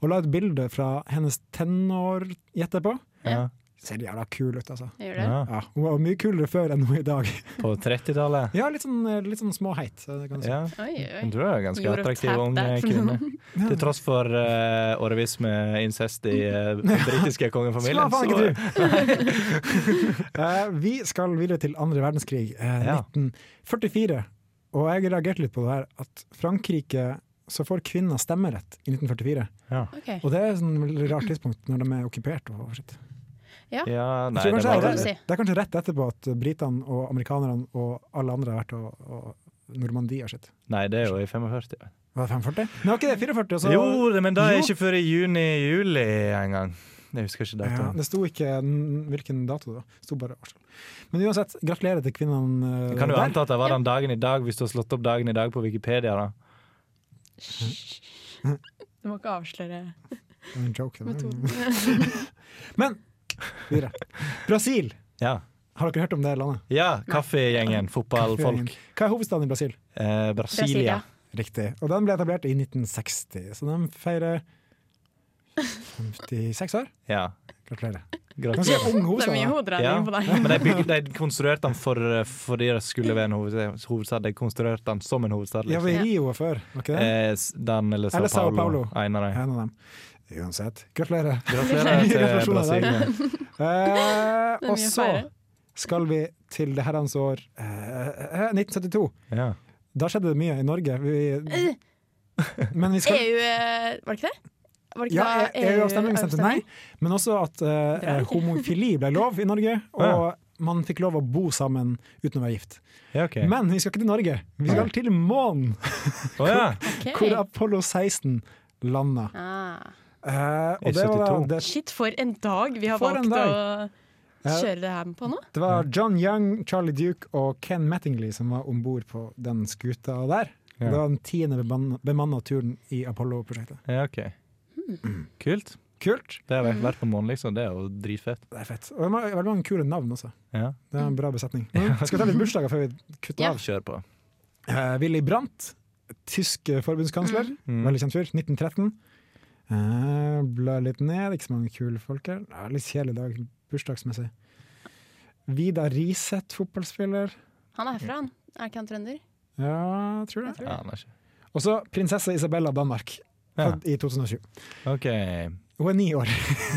[SPEAKER 9] Og la et bilde fra hennes tenår, gjetter jeg på.
[SPEAKER 7] Ja.
[SPEAKER 9] Ser jævla kul ut, altså.
[SPEAKER 10] Gjør
[SPEAKER 7] det? Ja.
[SPEAKER 9] Ja, hun var mye kulere før enn hun er i dag. *laughs*
[SPEAKER 7] På 30-tallet.
[SPEAKER 9] Ja, litt sånn, eh, litt sånn småheit. eh, kan du si.
[SPEAKER 7] Ja.
[SPEAKER 10] Oi, oi.
[SPEAKER 7] Hun tror jeg er en ganske
[SPEAKER 10] Gjorde
[SPEAKER 7] attraktiv
[SPEAKER 10] tap
[SPEAKER 7] ung
[SPEAKER 10] der.
[SPEAKER 7] eh,
[SPEAKER 10] *laughs*
[SPEAKER 7] kvinne. Til tross for eh, årevis med incest i eh, den britiske kongefamilien.
[SPEAKER 9] Skal faen
[SPEAKER 7] så-
[SPEAKER 9] ikke tro! Eh, Vi skal videre til andre verdenskrig, eh,
[SPEAKER 7] Ja.
[SPEAKER 9] 1944. Og jeg reagerte litt på det her, at Frankrike så får kvinner stemmerett i 1944.
[SPEAKER 10] Ok.
[SPEAKER 9] Og det er et sånn veldig rart tidspunkt når de er okkupert. Og shit.
[SPEAKER 10] Ja.
[SPEAKER 7] Ja,
[SPEAKER 9] Jeg
[SPEAKER 7] nei,
[SPEAKER 9] tror
[SPEAKER 7] det
[SPEAKER 9] kanskje
[SPEAKER 7] var
[SPEAKER 9] det,
[SPEAKER 7] vel-
[SPEAKER 9] er, rett- det er kanskje rett etterpå at britene og amerikanerne og alle andre har vært og, og Normandie og sitt.
[SPEAKER 7] Nei, det er jo i 45.
[SPEAKER 9] Var det 45? Nei, var ikke det 44? og så-
[SPEAKER 7] Jo, det- men det er
[SPEAKER 9] Altså, Jo.
[SPEAKER 7] ikke før i juni-juli engang. Jeg husker ikke
[SPEAKER 9] Ja,
[SPEAKER 7] datoen.
[SPEAKER 9] det sto ikke n- hvilken dato, da. Det sto bare årstall. Men uansett, gratulerer til kvinnene eh,
[SPEAKER 7] Kan du
[SPEAKER 9] der.
[SPEAKER 7] anta at det var den dagen i dag, hvis du har slått opp dagen i dag på Wikipedia? da?
[SPEAKER 10] Du må ikke avsløre
[SPEAKER 9] Det var en joke. det var- *laughs* Men videre. Brasil.
[SPEAKER 7] Ja.
[SPEAKER 9] Har dere hørt om det landet?
[SPEAKER 7] Ja, kaffegjengen, fotballfolk.
[SPEAKER 9] Hva er hovedstaden i Brasil?
[SPEAKER 7] Eh, Brasilia.
[SPEAKER 9] Riktig. Og den ble etablert i 1960, så den feirer 56 år.
[SPEAKER 7] Ja.
[SPEAKER 9] Gratulerer.
[SPEAKER 7] Gratulerer.
[SPEAKER 9] Ganske ung hovedstad, Det er mye da. hoderegning
[SPEAKER 7] Ja,
[SPEAKER 9] på deg.
[SPEAKER 7] Men de, bygde, de konstruerte den for, fordi det skulle være en hovedstad- hovedstad. De konstruerte den som en hovedstad.
[SPEAKER 9] Ja,
[SPEAKER 7] Liksom.
[SPEAKER 9] ved Rio var før, var ikke det?
[SPEAKER 7] Eh, s- den eller Sao
[SPEAKER 9] Eller Sao
[SPEAKER 7] Paulo.
[SPEAKER 9] Paulo.
[SPEAKER 7] En av dem.
[SPEAKER 9] En av dem. Uansett, gratulerer. *laughs*
[SPEAKER 7] Gratulerer til
[SPEAKER 9] Gratulasjoner i dag.
[SPEAKER 14] Det
[SPEAKER 9] Eh,
[SPEAKER 14] er
[SPEAKER 9] og
[SPEAKER 14] mye
[SPEAKER 9] så
[SPEAKER 14] feire.
[SPEAKER 9] skal vi til det herrens år eh, eh, 1972.
[SPEAKER 7] Ja.
[SPEAKER 9] Da skjedde det mye i Norge. Vi,
[SPEAKER 10] Eh,
[SPEAKER 9] *laughs* men vi skal
[SPEAKER 10] EU eh, Var det ikke det? Var det ikke
[SPEAKER 9] ja,
[SPEAKER 10] da E
[SPEAKER 9] EU-avstemning stemte nei, men også at eh,
[SPEAKER 10] Bra.
[SPEAKER 9] homofili ble lov i *laughs* Norge. Og man fikk lov å bo sammen uten å være gift. Men vi skal ikke til Norge, vi skal til månen!
[SPEAKER 7] ja.
[SPEAKER 10] Ok.
[SPEAKER 9] Hvor Apollo 16 landa.
[SPEAKER 10] Ah.
[SPEAKER 9] Eh,
[SPEAKER 7] I
[SPEAKER 9] og det var,
[SPEAKER 7] 72.
[SPEAKER 9] det,
[SPEAKER 10] Shit, for en dag vi har
[SPEAKER 9] For en
[SPEAKER 10] valgt å
[SPEAKER 9] dag. Ja.
[SPEAKER 10] kjøre det her på nå.
[SPEAKER 9] det var John Young, Charlie Duke og Ken Mattingly som var om bord på den skuta der.
[SPEAKER 7] Ja.
[SPEAKER 9] Det var den tiende bemanna- bemanna turen i Apollo-prosjektet.
[SPEAKER 7] Ja, ok. Kult.
[SPEAKER 9] Kult.
[SPEAKER 7] Det har vært- vært på månen, liksom. Det er jo dritfett.
[SPEAKER 9] Det er fett. Og det var veldig mange kule navn også.
[SPEAKER 7] Ja.
[SPEAKER 9] Det er en bra besetning. Men Skal vi ta litt bursdager før vi kutter av?
[SPEAKER 7] Kjør på.
[SPEAKER 9] Eh, Willy Brandt, tysk eh, forbundskansler.
[SPEAKER 7] Mm.
[SPEAKER 9] Veldig kjent fyr. 1913. Eh, bla litt ned, ikke så mange kule folk her. Ja, litt kjedelig dag bursdagsmessig. Vidar Riseth, fotballspiller.
[SPEAKER 10] Han er herfra, han. Er ikke han trønder?
[SPEAKER 9] Ja, jeg tror
[SPEAKER 7] Ja,
[SPEAKER 9] det.
[SPEAKER 7] han er ikke.
[SPEAKER 9] Og så prinsesse Isabella av Danmark, født i 2007.
[SPEAKER 7] OK.
[SPEAKER 9] Hun er ni år.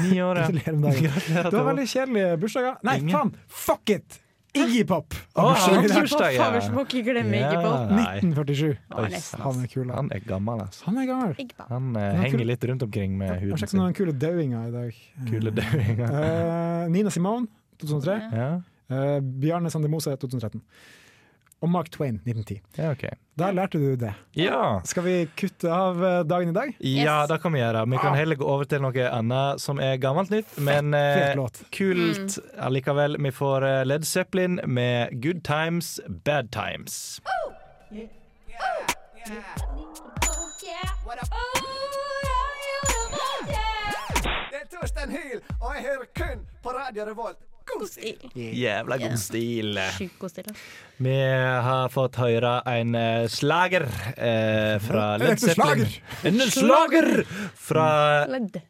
[SPEAKER 7] Ni år, ja.
[SPEAKER 9] *laughs* Gratulerer med dagen. Det var
[SPEAKER 7] Gratulerer til
[SPEAKER 9] veldig kjedelige bursdager. Nei, faen! Fuck it! Iggy Pop!
[SPEAKER 7] Å,
[SPEAKER 9] Har bursdag i
[SPEAKER 7] han
[SPEAKER 9] dag.
[SPEAKER 7] har bursdag, ja. Faen, vi må ikke glemme Iggy Ja, Pop. nei.
[SPEAKER 9] 1947.
[SPEAKER 7] Oi, nesten,
[SPEAKER 9] Han er kul.
[SPEAKER 7] Han er gammel, altså.
[SPEAKER 9] Han er gammel.
[SPEAKER 7] Han eh,
[SPEAKER 9] Han er
[SPEAKER 7] henger
[SPEAKER 9] kul.
[SPEAKER 7] litt rundt omkring med
[SPEAKER 9] Jeg har
[SPEAKER 7] huden
[SPEAKER 9] sjekket
[SPEAKER 7] sin.
[SPEAKER 9] noen kule dauinger i dag.
[SPEAKER 7] *laughs* Kule dauinger.
[SPEAKER 9] Eh, Nina Simone, 2003.
[SPEAKER 7] Ja.
[SPEAKER 9] Eh, Bjarne Sander Mose, 2013. Og Mark Twain, 1910.
[SPEAKER 7] Ja, ok.
[SPEAKER 9] Der lærte du det.
[SPEAKER 7] Ja.
[SPEAKER 9] Skal vi kutte av eh, dagen i dag?
[SPEAKER 7] Ja, det kan vi gjøre. Vi kan heller gå over til noe annet som er gammelt nytt, men eh,
[SPEAKER 9] fet låt.
[SPEAKER 7] kult allikevel. Vi får eh, Led Zeppelin med Good Times, Bad Times.
[SPEAKER 14] Det er Torstein Hyl, og jeg hører kun på Radio Revolt. God stil!
[SPEAKER 7] Jævla god stil.
[SPEAKER 10] Sjukt god stil. ass.
[SPEAKER 7] Vi har fått høre en eh, slager eh, fra
[SPEAKER 10] En
[SPEAKER 7] Led
[SPEAKER 10] ekte
[SPEAKER 7] Zeppelin.
[SPEAKER 10] slager.
[SPEAKER 7] En slager fra,
[SPEAKER 10] Ledd.
[SPEAKER 7] fra,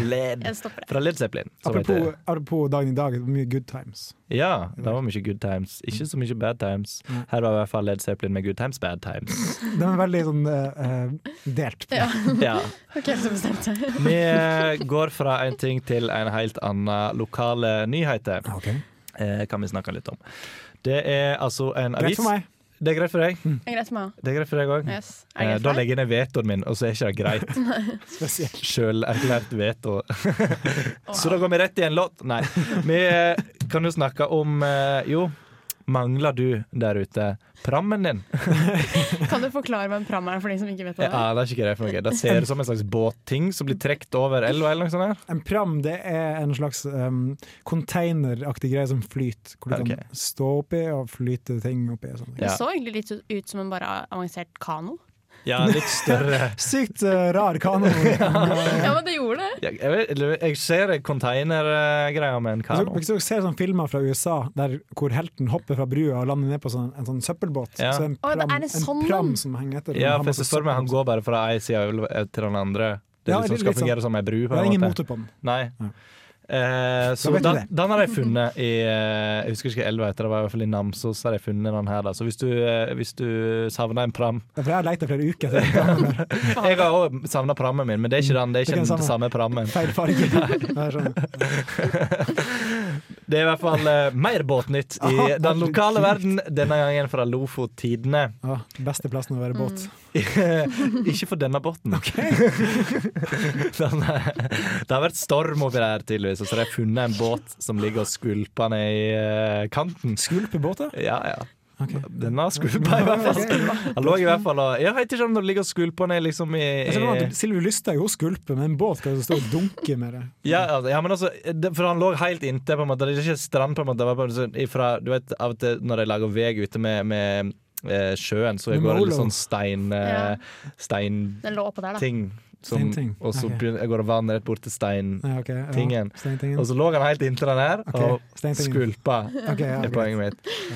[SPEAKER 7] Led,
[SPEAKER 10] Jeg stopper
[SPEAKER 7] fra Led Zeppelin. som heter-
[SPEAKER 9] Apropos, apropos dagen i dag, det var mye good times.
[SPEAKER 7] Ja, det var mye good times. Ikke så mye bad times. Her var i hvert fall Led Zeppelin med good times, bad *laughs* times.
[SPEAKER 9] Den er veldig sånn eh, eh, delt.
[SPEAKER 10] Ja.
[SPEAKER 7] Ja.
[SPEAKER 10] Ok, så bestemte
[SPEAKER 7] Vi eh, går fra en ting til en helt annen lokale nyheter. Eh, kan vi snakke litt om. Det er altså en
[SPEAKER 9] Greit
[SPEAKER 7] avis
[SPEAKER 9] for meg.
[SPEAKER 7] Det er greit for deg?
[SPEAKER 10] Det er greit for meg
[SPEAKER 7] Det er greit for deg òg?
[SPEAKER 10] Yes. Er det greit for
[SPEAKER 7] Eh, da
[SPEAKER 10] deg?
[SPEAKER 7] legger jeg ned vetoen min, og så er ikke det
[SPEAKER 10] *laughs*
[SPEAKER 7] greit.
[SPEAKER 10] òg.
[SPEAKER 7] Sjølerklært veto.
[SPEAKER 10] *laughs*
[SPEAKER 7] *laughs* så da går vi rett i en låt. Nei. Vi eh, kan jo snakke om eh, Jo, mangler du der ute prammen din?
[SPEAKER 10] Kan du forklare hva en pram er for de som ikke vet hva
[SPEAKER 7] Ja,
[SPEAKER 10] det er?
[SPEAKER 7] det er ikke greit for noe. Det ser ut som en slags båtting som blir trukket over elva eller noe sånt. her
[SPEAKER 9] En pram det er en slags um, containeraktig greie som flyter, hvor du
[SPEAKER 7] Ok.
[SPEAKER 9] kan stå oppi og flyte ting oppi.
[SPEAKER 7] *laughs*
[SPEAKER 9] Og sånne ting.
[SPEAKER 10] Det så egentlig litt ut- ut som en bare avansert kano.
[SPEAKER 7] Ja, litt større.
[SPEAKER 9] Sykt eh, rar kano. *laughs*
[SPEAKER 10] Ja, men det gjorde det.
[SPEAKER 7] Jeg, jeg, vet- eller jeg ser containergreier med en
[SPEAKER 9] Altså,
[SPEAKER 7] kano.
[SPEAKER 9] Hvis dere ser sånne filmer fra USA der hvor helten hopper fra brua og lander ned på sånn, en sånn søppelbåt,
[SPEAKER 7] Ja.
[SPEAKER 9] så er det en
[SPEAKER 10] Å,
[SPEAKER 9] pram,
[SPEAKER 10] det er en
[SPEAKER 9] en
[SPEAKER 10] sånn
[SPEAKER 9] pram
[SPEAKER 10] en.
[SPEAKER 9] som henger etter.
[SPEAKER 7] Ja,
[SPEAKER 9] Han
[SPEAKER 7] for jeg
[SPEAKER 9] har
[SPEAKER 7] ser for meg han går bare fra ei side av elva til den andre. Det
[SPEAKER 9] Ja, det
[SPEAKER 7] er
[SPEAKER 9] er
[SPEAKER 7] liksom skal
[SPEAKER 9] litt sånn.
[SPEAKER 7] fungere som ei bru.
[SPEAKER 9] Det er ingen motor på den.
[SPEAKER 7] Nei. Eh, så
[SPEAKER 9] Da vet du
[SPEAKER 7] den,
[SPEAKER 9] det.
[SPEAKER 7] den har de funnet i eh, Jeg husker ikke elva etter, det var i hvert fall i Namsos. har de funnet den her da. Så hvis du, eh, hvis du savner en pram
[SPEAKER 9] Ja, For jeg har lett i flere uker etter den prammen.
[SPEAKER 7] Jeg har òg savna prammen min, men det er ikke den. Det er ikke den samme prammen.
[SPEAKER 9] Feil
[SPEAKER 7] *laughs*
[SPEAKER 9] farge. sånn, Ja, jeg skjønner.
[SPEAKER 7] Det er i hvert fall eh, mer båtnytt
[SPEAKER 9] Ah,
[SPEAKER 7] i den lokale
[SPEAKER 9] herregud.
[SPEAKER 7] verden, denne gangen fra Lofot-tidene.
[SPEAKER 9] Ja, beste plassen å være båt.
[SPEAKER 10] Mm.
[SPEAKER 7] *laughs* Ikke for denne båten. *laughs* Den er- det har vært storm oppi der, tydeligvis, og så har de funnet en båt som ligger og skvulper ned i eh, kanten.
[SPEAKER 9] Skvulpebåter?
[SPEAKER 7] Ja, ja. Den har skvulpa, i hvert fall.
[SPEAKER 9] *laughs*
[SPEAKER 7] Den lå i hvert fall og Jeg vet ikke om den ligger og skvulper ned liksom i,
[SPEAKER 9] Jeg ser for meg at Silvi Lysthaug hun skulper, men en båt skal jo stå og dunke med det.
[SPEAKER 7] Ja, altså, ja, men altså det, For han lå helt inntil, på en måte. Det er ikke strand, på en måte. Det var bare sånn ifra, du vet, av og til når de lager vei ute med, med eh, sjøen, så
[SPEAKER 9] Med
[SPEAKER 7] går det litt
[SPEAKER 9] molo.
[SPEAKER 7] sånn stein... Eh,
[SPEAKER 10] Ja.
[SPEAKER 7] stein
[SPEAKER 10] Den lå oppå der, da.
[SPEAKER 7] ting. som,
[SPEAKER 9] Steinting?
[SPEAKER 7] og så
[SPEAKER 9] Ok.
[SPEAKER 7] begynner- jeg går og vanner rett bort til
[SPEAKER 9] Ja, ok, ja.
[SPEAKER 7] steintingen.
[SPEAKER 9] Steintingen.
[SPEAKER 7] og så lå han helt inntil den her
[SPEAKER 9] Ok,
[SPEAKER 7] og
[SPEAKER 9] steintingen.
[SPEAKER 7] skulpa,
[SPEAKER 9] Ok, ja,
[SPEAKER 7] er
[SPEAKER 9] greit.
[SPEAKER 7] poenget mitt.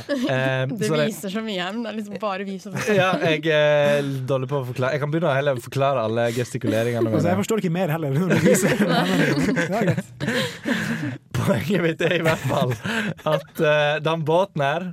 [SPEAKER 7] Eh,
[SPEAKER 10] det
[SPEAKER 7] så det-
[SPEAKER 10] viser så mye her, men det er liksom bare vi som
[SPEAKER 7] Ja, jeg er dårlig på å forklare. Jeg kan begynne å heller forklare alle gestikuleringene
[SPEAKER 9] Altså, jeg
[SPEAKER 7] mine.
[SPEAKER 9] forstår ikke mer heller. Når du
[SPEAKER 10] *laughs*
[SPEAKER 9] viser. *laughs* Ja, greit.
[SPEAKER 7] Poenget mitt er i hvert fall at eh, den båten her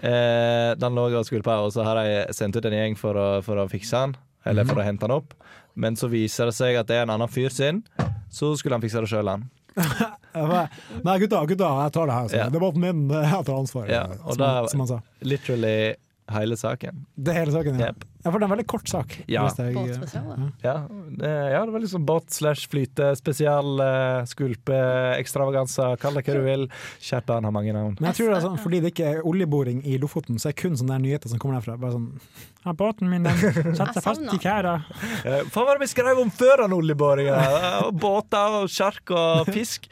[SPEAKER 7] eh, Den lå jeg og skulpa, og så har jeg sendt ut en gjeng for å, for å fikse den. Eller
[SPEAKER 9] Mhm.
[SPEAKER 7] for å hente den opp. Men så viser det seg at det er en annen fyr sin. Så skulle han fikse det sjøl, han.
[SPEAKER 9] Jeg bare, Nei, gutta, gutta, jeg tar det her. Så. Det er båten min, eh, jeg tar ansvaret.
[SPEAKER 7] Ja, og
[SPEAKER 9] som, han- som han
[SPEAKER 7] da
[SPEAKER 9] sa.
[SPEAKER 7] literally hele saken.
[SPEAKER 9] Det er hele saken, ja. ja. For det er en veldig kort sak.
[SPEAKER 7] Ja.
[SPEAKER 9] hvis jeg- eh,
[SPEAKER 7] Ja, det, ja, det var liksom båt slash flyte, spesial, eh, skulpe, ekstravaganser, kall det hva du vil. Kjartan har mange navn.
[SPEAKER 9] Men jeg tror det er sånn, fordi det ikke er oljeboring i Lofoten, så er det kun sånne der nyheter som kommer derfra. Bare sånn ja, 'Båten min den satte seg fast i kjæra'.
[SPEAKER 7] Eh, Faen, hva var det vi skrev om før den oljeboringa? Eh, Båter og sjark og fisk.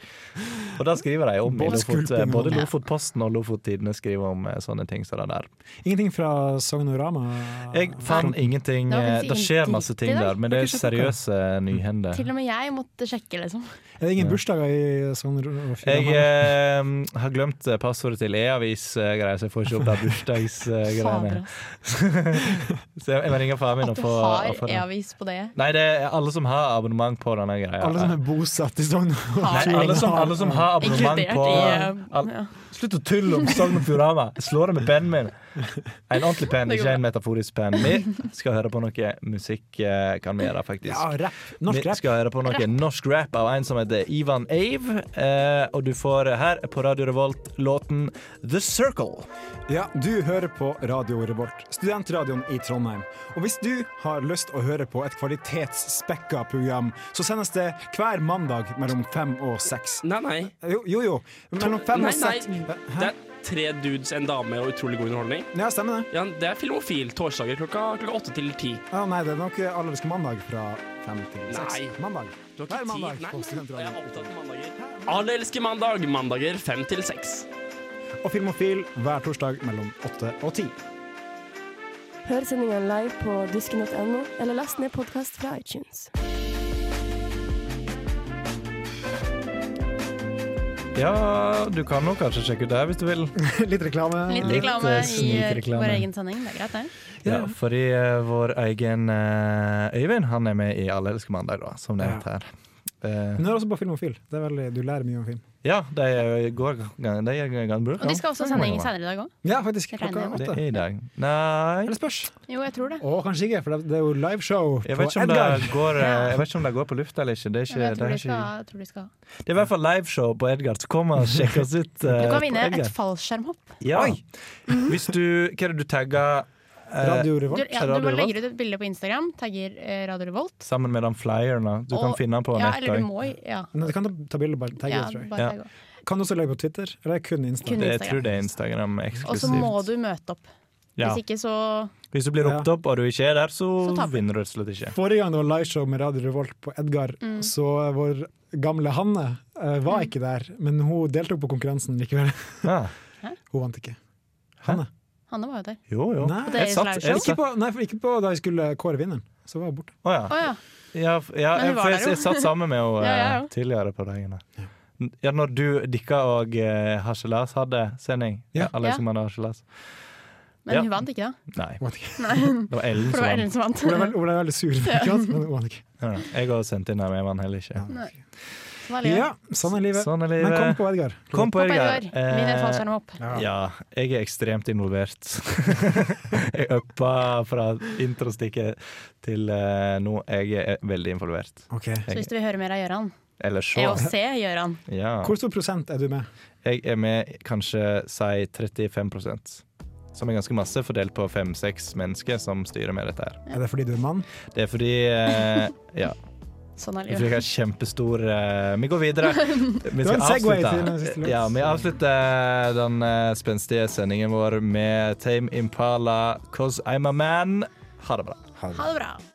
[SPEAKER 7] Og det skriver de om i Lofot. eh,
[SPEAKER 9] Båtskulping og-
[SPEAKER 7] Både Lofotposten og Lofottidene skriver om eh, sånne ting som det der.
[SPEAKER 9] Ingenting fra Sognorama?
[SPEAKER 7] Jeg fant ingenting
[SPEAKER 10] Det var
[SPEAKER 7] eh,
[SPEAKER 10] faktisk
[SPEAKER 7] Det skjer
[SPEAKER 10] ingen
[SPEAKER 7] masse
[SPEAKER 10] dritt i
[SPEAKER 7] ting
[SPEAKER 10] dag.
[SPEAKER 7] der, men det er
[SPEAKER 10] Har ikke sjekket
[SPEAKER 7] seriøse nyhender.
[SPEAKER 10] Til og med jeg måtte sjekke, liksom.
[SPEAKER 9] Er det ingen bursdager i Sognorama?
[SPEAKER 7] Jeg eh, har glemt eh, passordet til e-avis-greier, så jeg får ikke opp eh, de bursdagsgreiene. *laughs* så jeg jeg må ringe faren min
[SPEAKER 10] At
[SPEAKER 7] og
[SPEAKER 10] du
[SPEAKER 7] få
[SPEAKER 10] har
[SPEAKER 7] og få den.
[SPEAKER 10] e-avis på det.
[SPEAKER 7] Nei, det er alle som har abonnement på denne greia.
[SPEAKER 9] Alle som er bosatt i Sognorama?
[SPEAKER 7] Nei, alle som, alle som har abonnement
[SPEAKER 10] Inkludert E
[SPEAKER 7] på
[SPEAKER 10] i,
[SPEAKER 7] all, Slutt å tulle om Sogn og Fjordane! Jeg Slår det med pennen min. En ordentlig penn,
[SPEAKER 9] Det går
[SPEAKER 7] ikke en metaforisk penn. Vi skal høre på noe musikk, eh, kan vi gjøre, faktisk.
[SPEAKER 9] Ja, rapp. Norsk
[SPEAKER 7] Vi
[SPEAKER 9] rapp.
[SPEAKER 7] skal høre på noe
[SPEAKER 9] Rapp.
[SPEAKER 7] norsk rap av en som heter Ivan Ave. Eh, og du får her på Radio Revolt låten The Circle.
[SPEAKER 9] Ja, du hører på Radio Revolt, studentradioen i Trondheim. Og hvis du har lyst å høre på et kvalitetsspekka program, så sendes det hver mandag mellom fem og seks.
[SPEAKER 15] Nei, nei.
[SPEAKER 9] Jo, jo. jo. Mellom fem
[SPEAKER 15] nei,
[SPEAKER 9] og
[SPEAKER 15] nei.
[SPEAKER 9] seks.
[SPEAKER 15] Det er tre dudes, en dame og utrolig god underholdning.
[SPEAKER 9] Ja, stemmer det.
[SPEAKER 15] Ja, det er Filmofil, torsdager klokka, klokka åtte til ti.
[SPEAKER 9] Ja, nei, det er nok allergisk mandag fra fem til seks.
[SPEAKER 15] Nei.
[SPEAKER 9] Mandag.
[SPEAKER 15] Du har ikke
[SPEAKER 9] Hver
[SPEAKER 15] tid.
[SPEAKER 9] mandag
[SPEAKER 15] Nei,
[SPEAKER 9] på
[SPEAKER 15] jeg er
[SPEAKER 9] studentradioen.
[SPEAKER 15] opptatt av mandager. Alle elsker mandag. Mandager fem til seks.
[SPEAKER 9] Og Filmofil hver torsdag mellom åtte og
[SPEAKER 7] *laughs*
[SPEAKER 9] ti.
[SPEAKER 16] Hør sendingene live på dusken.no, eller last ned podkast fra iTunes.
[SPEAKER 7] Ja, du kan jo kanskje sjekke ut det her hvis du vil.
[SPEAKER 9] Litt reklame.
[SPEAKER 10] Litt reklame
[SPEAKER 7] eh,
[SPEAKER 10] i eh,
[SPEAKER 7] snikreklame.
[SPEAKER 10] vår egen sending, det er greit, det.
[SPEAKER 7] Ja, fordi eh, vår egen eh, Øyvind, han er med i Alle elsker mandag, da, som nevnt her. Eh,
[SPEAKER 9] Men du er også på Filmofil. Det er veldig, du lærer mye om film.
[SPEAKER 7] Ja, de eh, går de er gang bruk.
[SPEAKER 10] Og de skal også ha sending senere i dag òg.
[SPEAKER 9] Ja, faktisk.
[SPEAKER 10] Jeg regner
[SPEAKER 9] Klokka
[SPEAKER 10] med
[SPEAKER 7] Det
[SPEAKER 9] åtte.
[SPEAKER 7] er i dag. Nei
[SPEAKER 9] Eller spørs.
[SPEAKER 10] Jo, jeg tror det.
[SPEAKER 9] Å, kanskje ikke, for det- det er jo liveshow
[SPEAKER 7] Jeg
[SPEAKER 9] på
[SPEAKER 7] vet, ikke om
[SPEAKER 9] Edgar.
[SPEAKER 7] det går, eh, jeg vet ikke om det går på lufta eller ikke. Det er,
[SPEAKER 10] Men
[SPEAKER 7] ikke,
[SPEAKER 10] jeg
[SPEAKER 7] det
[SPEAKER 10] tror
[SPEAKER 7] er,
[SPEAKER 10] de skal,
[SPEAKER 7] ikke,
[SPEAKER 10] jeg tror de skal.
[SPEAKER 7] det er i hvert fall liveshow på Edgar, så kom og sjekk oss ut. eh,
[SPEAKER 10] *laughs* Du
[SPEAKER 7] på
[SPEAKER 10] kan vinne
[SPEAKER 7] Edgar.
[SPEAKER 10] et Mhm. fallskjermhopp.
[SPEAKER 7] Ja. Hvis du Hva er det du tagger? eh,
[SPEAKER 9] Radio
[SPEAKER 10] Du, ja,
[SPEAKER 7] Radio
[SPEAKER 10] du bare
[SPEAKER 7] Revolt?
[SPEAKER 10] legger ut et bilde på Instagram, tagger eh, Radio Revolt.
[SPEAKER 7] Sammen med den flyeren, da. Du kan
[SPEAKER 10] og-
[SPEAKER 7] finne den på
[SPEAKER 10] ja,
[SPEAKER 7] nett
[SPEAKER 10] Eller du
[SPEAKER 7] også.
[SPEAKER 10] må, ja.
[SPEAKER 9] Men du kan ta- ta bilde og bare tagge
[SPEAKER 10] Ja,
[SPEAKER 9] det, tror jeg.
[SPEAKER 10] bare tagge Ja.
[SPEAKER 9] Kan du også legge på Twitter, eller er det kun Insta?
[SPEAKER 10] Kun
[SPEAKER 7] Det- Jeg
[SPEAKER 10] Instagram.
[SPEAKER 7] tror det er Instagram
[SPEAKER 10] Og så må
[SPEAKER 7] eksklusivt.
[SPEAKER 10] du møte opp.
[SPEAKER 7] Ja.
[SPEAKER 10] Hvis ikke så
[SPEAKER 7] Hvis du blir ropt opp og du ikke er der, så,
[SPEAKER 10] Så taper du.
[SPEAKER 7] vinner du rett og slett ikke.
[SPEAKER 9] Forrige gang det var liveshow med Radio Revolt på Edgar,
[SPEAKER 10] Mm.
[SPEAKER 9] så vår gamle Hanne eh, var ikke der, men hun deltok på konkurransen likevel. *laughs*
[SPEAKER 10] Hæ?
[SPEAKER 9] hun vant ikke.
[SPEAKER 10] Hanne var jo der.
[SPEAKER 7] Jo, jo.
[SPEAKER 9] Nei,
[SPEAKER 10] Det er Jeg satt- liveshow. jeg
[SPEAKER 9] ikke, på, nei, for ikke på da vi skulle kåre vinneren. Så var hun borte.
[SPEAKER 7] Å ja.
[SPEAKER 10] Å ja.
[SPEAKER 7] Ja, f- ja
[SPEAKER 10] Men hun
[SPEAKER 7] jeg,
[SPEAKER 10] var
[SPEAKER 7] for jeg,
[SPEAKER 10] der jo.
[SPEAKER 7] jeg satt sammen med henne
[SPEAKER 10] *laughs* Ja, jeg
[SPEAKER 7] eh,
[SPEAKER 10] jo.
[SPEAKER 7] tidligere på dagen. da. N- Ja, når du, dere og eh, Harselas hadde sending. Ja. Alle
[SPEAKER 10] Ja.
[SPEAKER 7] som hadde Harselas.
[SPEAKER 10] Men
[SPEAKER 7] Ja.
[SPEAKER 10] hun vant ikke, da.
[SPEAKER 7] Nei.
[SPEAKER 10] Nei. *laughs*
[SPEAKER 7] Det var Ellen
[SPEAKER 10] Mm. For det
[SPEAKER 7] som
[SPEAKER 10] var
[SPEAKER 7] vant.
[SPEAKER 10] Ellen som vant.
[SPEAKER 9] Hun ble, vel- hun ble veldig sur,
[SPEAKER 10] Ja.
[SPEAKER 9] ikke sant? men hun vant ikke.
[SPEAKER 7] Ja, da. jeg har sendt inn her, men jeg vant heller ikke.
[SPEAKER 10] Nei. Sånn er livet.
[SPEAKER 9] Ja, sånn er livet.
[SPEAKER 7] Sånn er livet.
[SPEAKER 9] Men kom på Edgar.
[SPEAKER 7] Kom på
[SPEAKER 10] Hopp,
[SPEAKER 7] Edgar.
[SPEAKER 10] Edgar. Vinn en fallskjerm opp.
[SPEAKER 7] Eh, ja, jeg er ekstremt involvert. *laughs* jeg uppa fra introstikket til eh, nå. Jeg er veldig involvert.
[SPEAKER 10] Så hvis du vil høre mer av Gøran,
[SPEAKER 7] Eller
[SPEAKER 10] er å se
[SPEAKER 7] så.
[SPEAKER 10] Gøran.
[SPEAKER 7] Ja.
[SPEAKER 9] Hvor stor prosent er du med?
[SPEAKER 7] Jeg er med kanskje si 35 som er ganske masse, fordelt på fem-seks mennesker som styrer med dette her.
[SPEAKER 9] Er det fordi du er mann?
[SPEAKER 7] Det er fordi eh,
[SPEAKER 9] *laughs*
[SPEAKER 7] Ja.
[SPEAKER 10] Sånn er
[SPEAKER 7] Det er fordi jeg
[SPEAKER 10] livet.
[SPEAKER 7] har kjempestor eh, Vi går
[SPEAKER 9] *laughs*
[SPEAKER 7] videre. Vi
[SPEAKER 9] Det var
[SPEAKER 7] skal
[SPEAKER 9] en segway til den siste
[SPEAKER 7] avslutte
[SPEAKER 9] låten.
[SPEAKER 7] ja, vi avslutter den eh, spenstige sendingen vår med Tame Impala 'Cause I'm a Man'. Ha det bra.
[SPEAKER 10] Ha det bra.